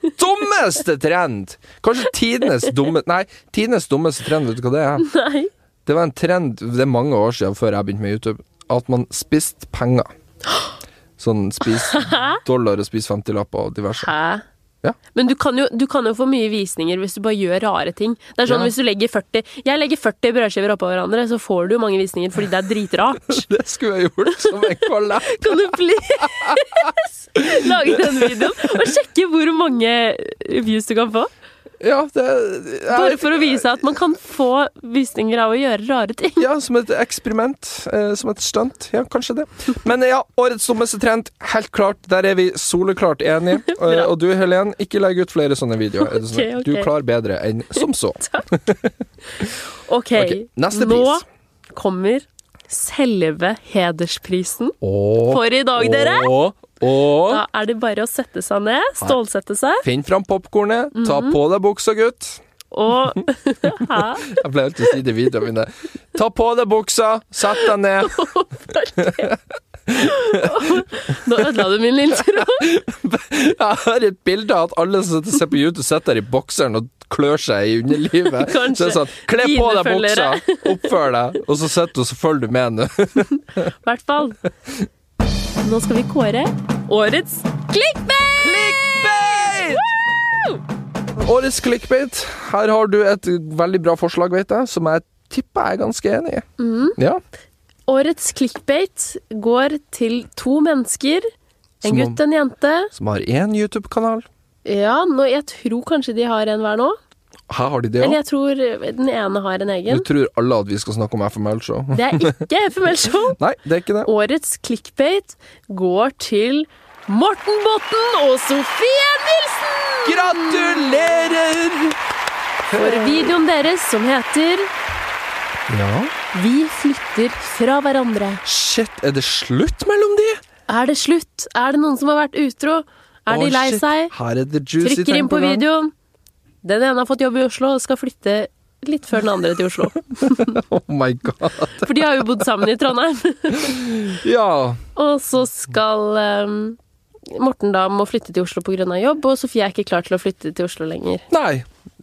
[SPEAKER 2] dummeste trend! Kanskje tidenes dumme... Nei, tidenes dummeste trend, vet du hva det er?
[SPEAKER 1] Nei.
[SPEAKER 2] Det var en trend det er mange år siden før jeg begynte med YouTube, at man spiste penger. Sånn spis dollar og spis 50-lapper og diverse.
[SPEAKER 1] Hæ?
[SPEAKER 2] Ja.
[SPEAKER 1] Men du kan, jo, du kan jo få mye visninger hvis du bare gjør rare ting. Det er sånn
[SPEAKER 2] Ja.
[SPEAKER 1] hvis du legger 40 Jeg legger 40 brødskiver oppå hverandre, så får du jo mange visninger fordi det er dritrart.
[SPEAKER 2] Det skulle jeg gjort som en kollab.
[SPEAKER 1] Kan du please lage den videoen og sjekke hvor mange views du kan få?
[SPEAKER 2] Ja, det
[SPEAKER 1] Bare
[SPEAKER 2] er,
[SPEAKER 1] for å vise at man kan få visninger av å gjøre rare ting.
[SPEAKER 2] ja, som et eksperiment. Eh, som et stunt. Ja, kanskje det. Men ja, årets dummeste trend, helt klart. Der er vi soleklart enige. Eh, og du, Helen, ikke legg ut flere sånne videoer. Er det sånn
[SPEAKER 1] Ok,
[SPEAKER 2] at
[SPEAKER 1] ok.
[SPEAKER 2] Du klarer bedre enn som så.
[SPEAKER 1] OK,
[SPEAKER 2] Ok, neste
[SPEAKER 1] nå
[SPEAKER 2] pris.
[SPEAKER 1] kommer selve hedersprisen
[SPEAKER 2] Og,
[SPEAKER 1] for i dag, dere.
[SPEAKER 2] Og,
[SPEAKER 1] Da er det bare å sette seg ned, stålsette seg
[SPEAKER 2] Finn fram popkornet, ta
[SPEAKER 1] Mhm.
[SPEAKER 2] på deg buksa, gutt.
[SPEAKER 1] og Hæ?
[SPEAKER 2] Jeg pleier alltid å si det i videoene mine. Ta på deg buksa, sett deg ned.
[SPEAKER 1] Nå ødela du min intro.
[SPEAKER 2] Jeg har et bilde av at alle som sitter og ser på YouTube, sitter der i bokseren og klør seg i underlivet.
[SPEAKER 1] Kanskje.
[SPEAKER 2] Så det er sånn, Kle
[SPEAKER 1] Dine
[SPEAKER 2] på deg buksa, oppfør deg, og så sitter du og så følger du med nå.
[SPEAKER 1] I hvert fall. Nå skal vi kåre årets clickbait!
[SPEAKER 2] Årets clickbait. Her har du et veldig bra forslag, vet jeg, som jeg tipper jeg er ganske enig i.
[SPEAKER 1] Mm.
[SPEAKER 2] Ja.
[SPEAKER 1] Årets clickbait går til to mennesker. En
[SPEAKER 2] Som om-
[SPEAKER 1] gutt og en jente.
[SPEAKER 2] Som har én YouTube-kanal.
[SPEAKER 1] Ja, nå, jeg tror kanskje de har en hver nå.
[SPEAKER 2] Her har de det
[SPEAKER 1] Eller
[SPEAKER 2] òg.
[SPEAKER 1] jeg tror den ene har en
[SPEAKER 2] Nå
[SPEAKER 1] egen.
[SPEAKER 2] tror alle at vi skal snakke om FML Show.
[SPEAKER 1] Det er ikke FML Show.
[SPEAKER 2] Nei, det er ikke det.
[SPEAKER 1] Årets clickbait går til Morten Botten og Sofie Nilsen!
[SPEAKER 2] Gratulerer
[SPEAKER 1] for videoen deres som heter
[SPEAKER 2] Ja.
[SPEAKER 1] Vi flytter fra hverandre.
[SPEAKER 2] Shit, er det slutt mellom de?
[SPEAKER 1] Er det slutt? Er det noen som har vært utro? Er de
[SPEAKER 2] Å,
[SPEAKER 1] lei
[SPEAKER 2] shit.
[SPEAKER 1] seg?
[SPEAKER 2] Her er det juicy
[SPEAKER 1] Trykker
[SPEAKER 2] ting
[SPEAKER 1] inn på
[SPEAKER 2] gang.
[SPEAKER 1] videoen. Den ene har fått jobb i Oslo og skal flytte litt før den andre til Oslo.
[SPEAKER 2] Oh my god.
[SPEAKER 1] For de har jo bodd sammen i Trondheim.
[SPEAKER 2] Ja.
[SPEAKER 1] Og så skal ehm, Morten da må flytte til Oslo pga. jobb, og Sofie er ikke klar til å flytte til Oslo lenger.
[SPEAKER 2] Nei.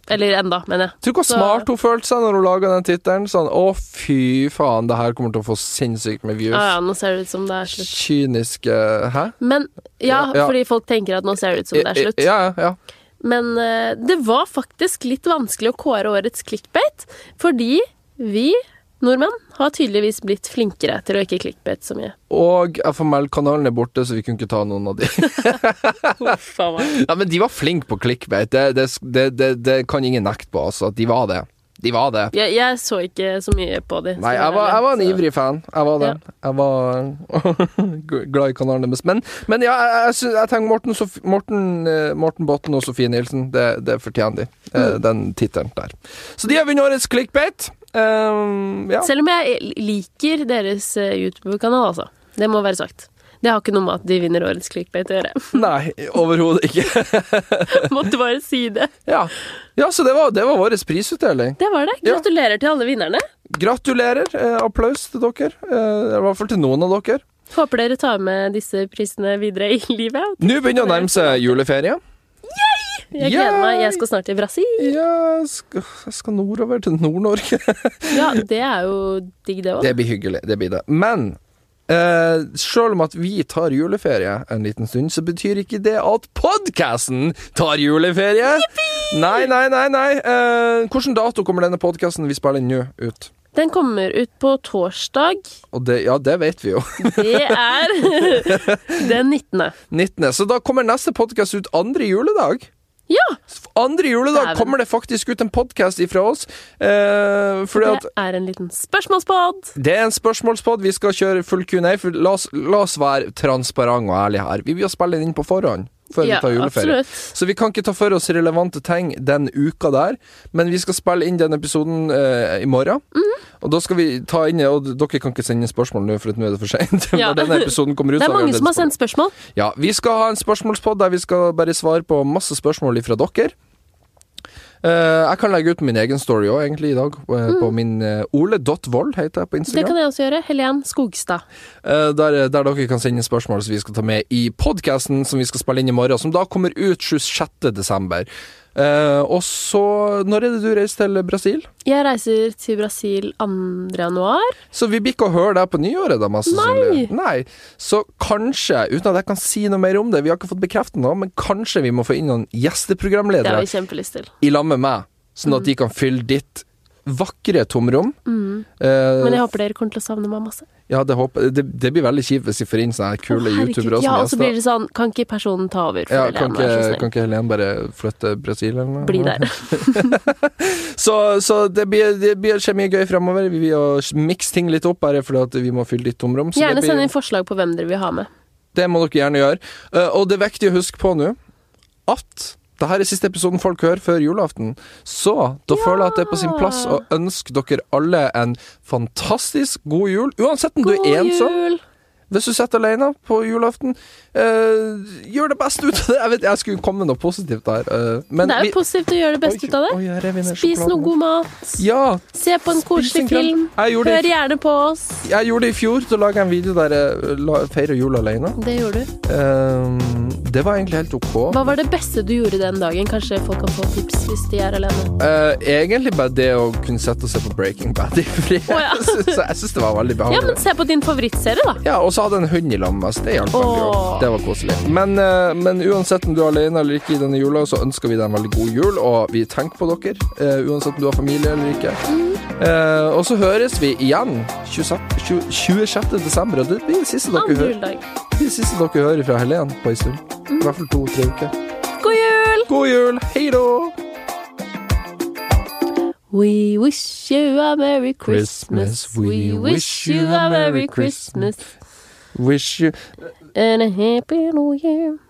[SPEAKER 1] Eller enda, mener jeg.
[SPEAKER 2] Tror du hvor
[SPEAKER 1] Så-
[SPEAKER 2] smart hun følte seg når hun laga den tittelen? Sånn å, fy faen, det her kommer til å få sinnssykt med views.
[SPEAKER 1] Ja, Ah, ja, nå ser det ut som det er slutt.
[SPEAKER 2] Kyniske Hæ?
[SPEAKER 1] Men ja,
[SPEAKER 2] Ja, ja.
[SPEAKER 1] fordi folk tenker at nå ser det ut som det er slutt.
[SPEAKER 2] Ja, ja, ja.
[SPEAKER 1] Men eh, det var faktisk litt vanskelig å kåre årets clickbait, fordi vi nordmenn har tydeligvis blitt flinkere til å ikke clickbait så mye.
[SPEAKER 2] Og FML-kanalen er borte, så vi kunne ikke ta noen av de.
[SPEAKER 1] Huff a meg.
[SPEAKER 2] Ja, men de var flinke på clickbait. Det, det, det, det, det kan ingen nekte på, altså. De var det. De var det.
[SPEAKER 1] Jeg, jeg så ikke så mye på de.
[SPEAKER 2] Nei, jeg var, jeg var en
[SPEAKER 1] så-
[SPEAKER 2] ivrig fan. Jeg var det. Jeg var glad i kanalen deres. Men, men ja, jeg, jeg, syns- jeg tenker Morten, Sof Morten, eh, Morten Botten og Sofie Nielsen, det, det fortjener de. eh, Den tittelen der. Så de har vunnet årets clickbait. Um, ja.
[SPEAKER 1] Selv om jeg liker deres eh, YouTube-kanal, altså. Det må være sagt. Det har ikke noe med at de vinner årets clickbait å gjøre.
[SPEAKER 2] Nei, overhodet ikke.
[SPEAKER 1] Måtte bare si det.
[SPEAKER 2] Ja, ja så det var, det var vår prisutdeling.
[SPEAKER 1] Det var det.
[SPEAKER 2] Ja.
[SPEAKER 1] Gratulerer til alle vinnerne.
[SPEAKER 2] Gratulerer. Eh, applaus til dere. Eh, I hvert fall til noen av dere.
[SPEAKER 1] Håper dere tar med disse prisene videre i livet.
[SPEAKER 2] Nå begynner det å nærme seg juleferie.
[SPEAKER 1] Jeg gleder
[SPEAKER 2] Yay!
[SPEAKER 1] meg. Jeg skal snart til Brasil.
[SPEAKER 2] Ja, jeg skal, jeg skal nordover til Nord-Norge.
[SPEAKER 1] Ja, det er jo digg, det òg.
[SPEAKER 2] Det blir hyggelig. Det blir det. Men eh, selv om at vi tar juleferie en liten stund, så betyr ikke det at podkasten tar juleferie. Nei, nei, nei. nei. Eh, hvilken dato kommer denne podkasten vi spiller inn nå, ut?
[SPEAKER 1] Den kommer ut på torsdag.
[SPEAKER 2] Og det, ja, det vet vi jo.
[SPEAKER 1] Det er den 19.
[SPEAKER 2] 19. Så da kommer neste podkast ut andre juledag.
[SPEAKER 1] Ja!
[SPEAKER 2] Andre juledag
[SPEAKER 1] Dæven.
[SPEAKER 2] kommer det faktisk ut en podkast ifra oss. Eh, fordi at
[SPEAKER 1] Det er en liten spørsmålspod.
[SPEAKER 2] Det er en spørsmålspod. Vi skal kjøre full Q&A. For la oss, la oss være transparente og ærlige her. Vi vil jo spille den inn på forhånd før
[SPEAKER 1] Ja,
[SPEAKER 2] vi tar juleferie.
[SPEAKER 1] absolutt.
[SPEAKER 2] Så vi kan ikke ta for oss relevante ting den uka der, men vi skal spille inn den episoden eh, i morgen.
[SPEAKER 1] Mhm.
[SPEAKER 2] Og da skal vi ta inn Og dere kan ikke sende inn spørsmål nå, for at nå er det for seint.
[SPEAKER 1] Ja.
[SPEAKER 2] Når denne episoden kommer ut,
[SPEAKER 1] Det er
[SPEAKER 2] så vi
[SPEAKER 1] mange
[SPEAKER 2] allerede
[SPEAKER 1] som har
[SPEAKER 2] spurt.
[SPEAKER 1] sendt spørsmål.
[SPEAKER 2] Ja, vi skal ha en spørsmålspod der vi skal bare svare på masse spørsmål fra dere. Eh, jeg kan legge ut min egen story òg, egentlig, i dag. eh, På min uh, ole.vold, heter jeg på Instagram.
[SPEAKER 1] Mm. Det kan jeg også gjøre. Helen Skogstad.
[SPEAKER 2] Eh, der, der dere kan sende spørsmål som vi skal ta med i podkasten som vi skal spille inn i morgen, som da kommer ut 26. desember. Eh, og så Når er det du reiser til Brasil?
[SPEAKER 1] Jeg reiser til Brasil 2. januar.
[SPEAKER 2] Så vi blir ikke å høre deg på nyåret, da, mest sannsynlig. Nei. Så kanskje, uten at jeg kan si noe mer om det, vi har ikke fått bekreftet noe, men kanskje vi må få inn noen
[SPEAKER 1] Det Mm. har
[SPEAKER 2] gjesteprogramledere
[SPEAKER 1] vi kjempelyst til.
[SPEAKER 2] i lag med meg, sånn at de kan fylle ditt vakre tomrom.
[SPEAKER 1] Mm.
[SPEAKER 2] Eh,
[SPEAKER 1] Men jeg håper dere kommer til å savne meg masse.
[SPEAKER 2] ja, det, håper, det, det blir veldig kjipt hvis vi får inn sånne her kule youtubere
[SPEAKER 1] ja, og
[SPEAKER 2] også
[SPEAKER 1] så
[SPEAKER 2] som
[SPEAKER 1] blir
[SPEAKER 2] gjester.
[SPEAKER 1] det sånn Kan ikke personen ta over? for
[SPEAKER 2] Ja,
[SPEAKER 1] Helen,
[SPEAKER 2] kan
[SPEAKER 1] vær så
[SPEAKER 2] ikke,
[SPEAKER 1] snill?
[SPEAKER 2] kan ikke Helen bare flytte Brasil, eller noe?
[SPEAKER 1] Bli der.
[SPEAKER 2] Så, så det, blir, det blir skjer mye gøy fremover. Vi vil jo mikse ting litt opp, bare fordi at vi må fylle litt tomrom. Så
[SPEAKER 1] Gjerne
[SPEAKER 2] det,
[SPEAKER 1] send
[SPEAKER 2] blir,
[SPEAKER 1] inn forslag på hvem dere vil ha med.
[SPEAKER 2] det må dere gjerne gjøre. Eh, og det er viktig å huske på nå at det her er siste episoden folk hører før julaften. Så da føler jeg at det er på sin plass å ønske dere alle en fantastisk god jul. Uansett om du sånn?
[SPEAKER 1] God
[SPEAKER 2] er ensom.
[SPEAKER 1] jul!
[SPEAKER 2] Hvis du sitter alene på julaften, eh, gjør det beste ut av det. Jeg vet, jeg skulle komme med noe positivt der. eh, men
[SPEAKER 1] Det er
[SPEAKER 2] vi-
[SPEAKER 1] jo positivt å gjøre det beste
[SPEAKER 2] Oi,
[SPEAKER 1] ut av det.
[SPEAKER 2] oi, jeg rev inn den
[SPEAKER 1] Spis
[SPEAKER 2] sjokoladen.
[SPEAKER 1] noe god mat.
[SPEAKER 2] Ja,
[SPEAKER 1] Se på en
[SPEAKER 2] spis
[SPEAKER 1] koselig
[SPEAKER 2] en krem.
[SPEAKER 1] film.
[SPEAKER 2] Jeg gjorde,
[SPEAKER 1] Hør
[SPEAKER 2] det,
[SPEAKER 1] gjerne på oss.
[SPEAKER 2] i- jeg gjorde det i fjor. Da laga jeg en video der jeg øh, la, feira jul alene.
[SPEAKER 1] Det gjorde du.
[SPEAKER 2] Ehm, det var egentlig helt ok.
[SPEAKER 1] Hva var det beste du gjorde den dagen? Kanskje folk kan få tips hvis de er alene.
[SPEAKER 2] Eh, egentlig bare det å kunne sette og se på Breaking Bad i fred.
[SPEAKER 1] Å, ja.
[SPEAKER 2] Så jeg syns det var
[SPEAKER 1] Ja,
[SPEAKER 2] veldig
[SPEAKER 1] men
[SPEAKER 2] behagelig.
[SPEAKER 1] se på din favorittserie, da.
[SPEAKER 2] Ja, Og så hadde jeg en hund i lag med meg, så det hjalp veldig
[SPEAKER 1] Åh.
[SPEAKER 2] òg. Det var koselig. Men, eh, men uansett om du er alene eller ikke i denne jula, så ønsker vi deg en veldig god jul, og vi tenker på dere. eh, uansett om du har familie eller ikke. Eh, og så høres vi igjen 26, 20 26. desember, og det blir det siste dere
[SPEAKER 1] Andre
[SPEAKER 2] hører.
[SPEAKER 1] juledag.
[SPEAKER 2] Det siste dere hører fra Helen på en stund. I hvert fall to-tre uker.
[SPEAKER 1] God jul!
[SPEAKER 2] God jul! Hei da!
[SPEAKER 1] We wish you a Merry Christmas. We wish you a Merry Christmas
[SPEAKER 2] Wish you
[SPEAKER 1] and a Happy New Year.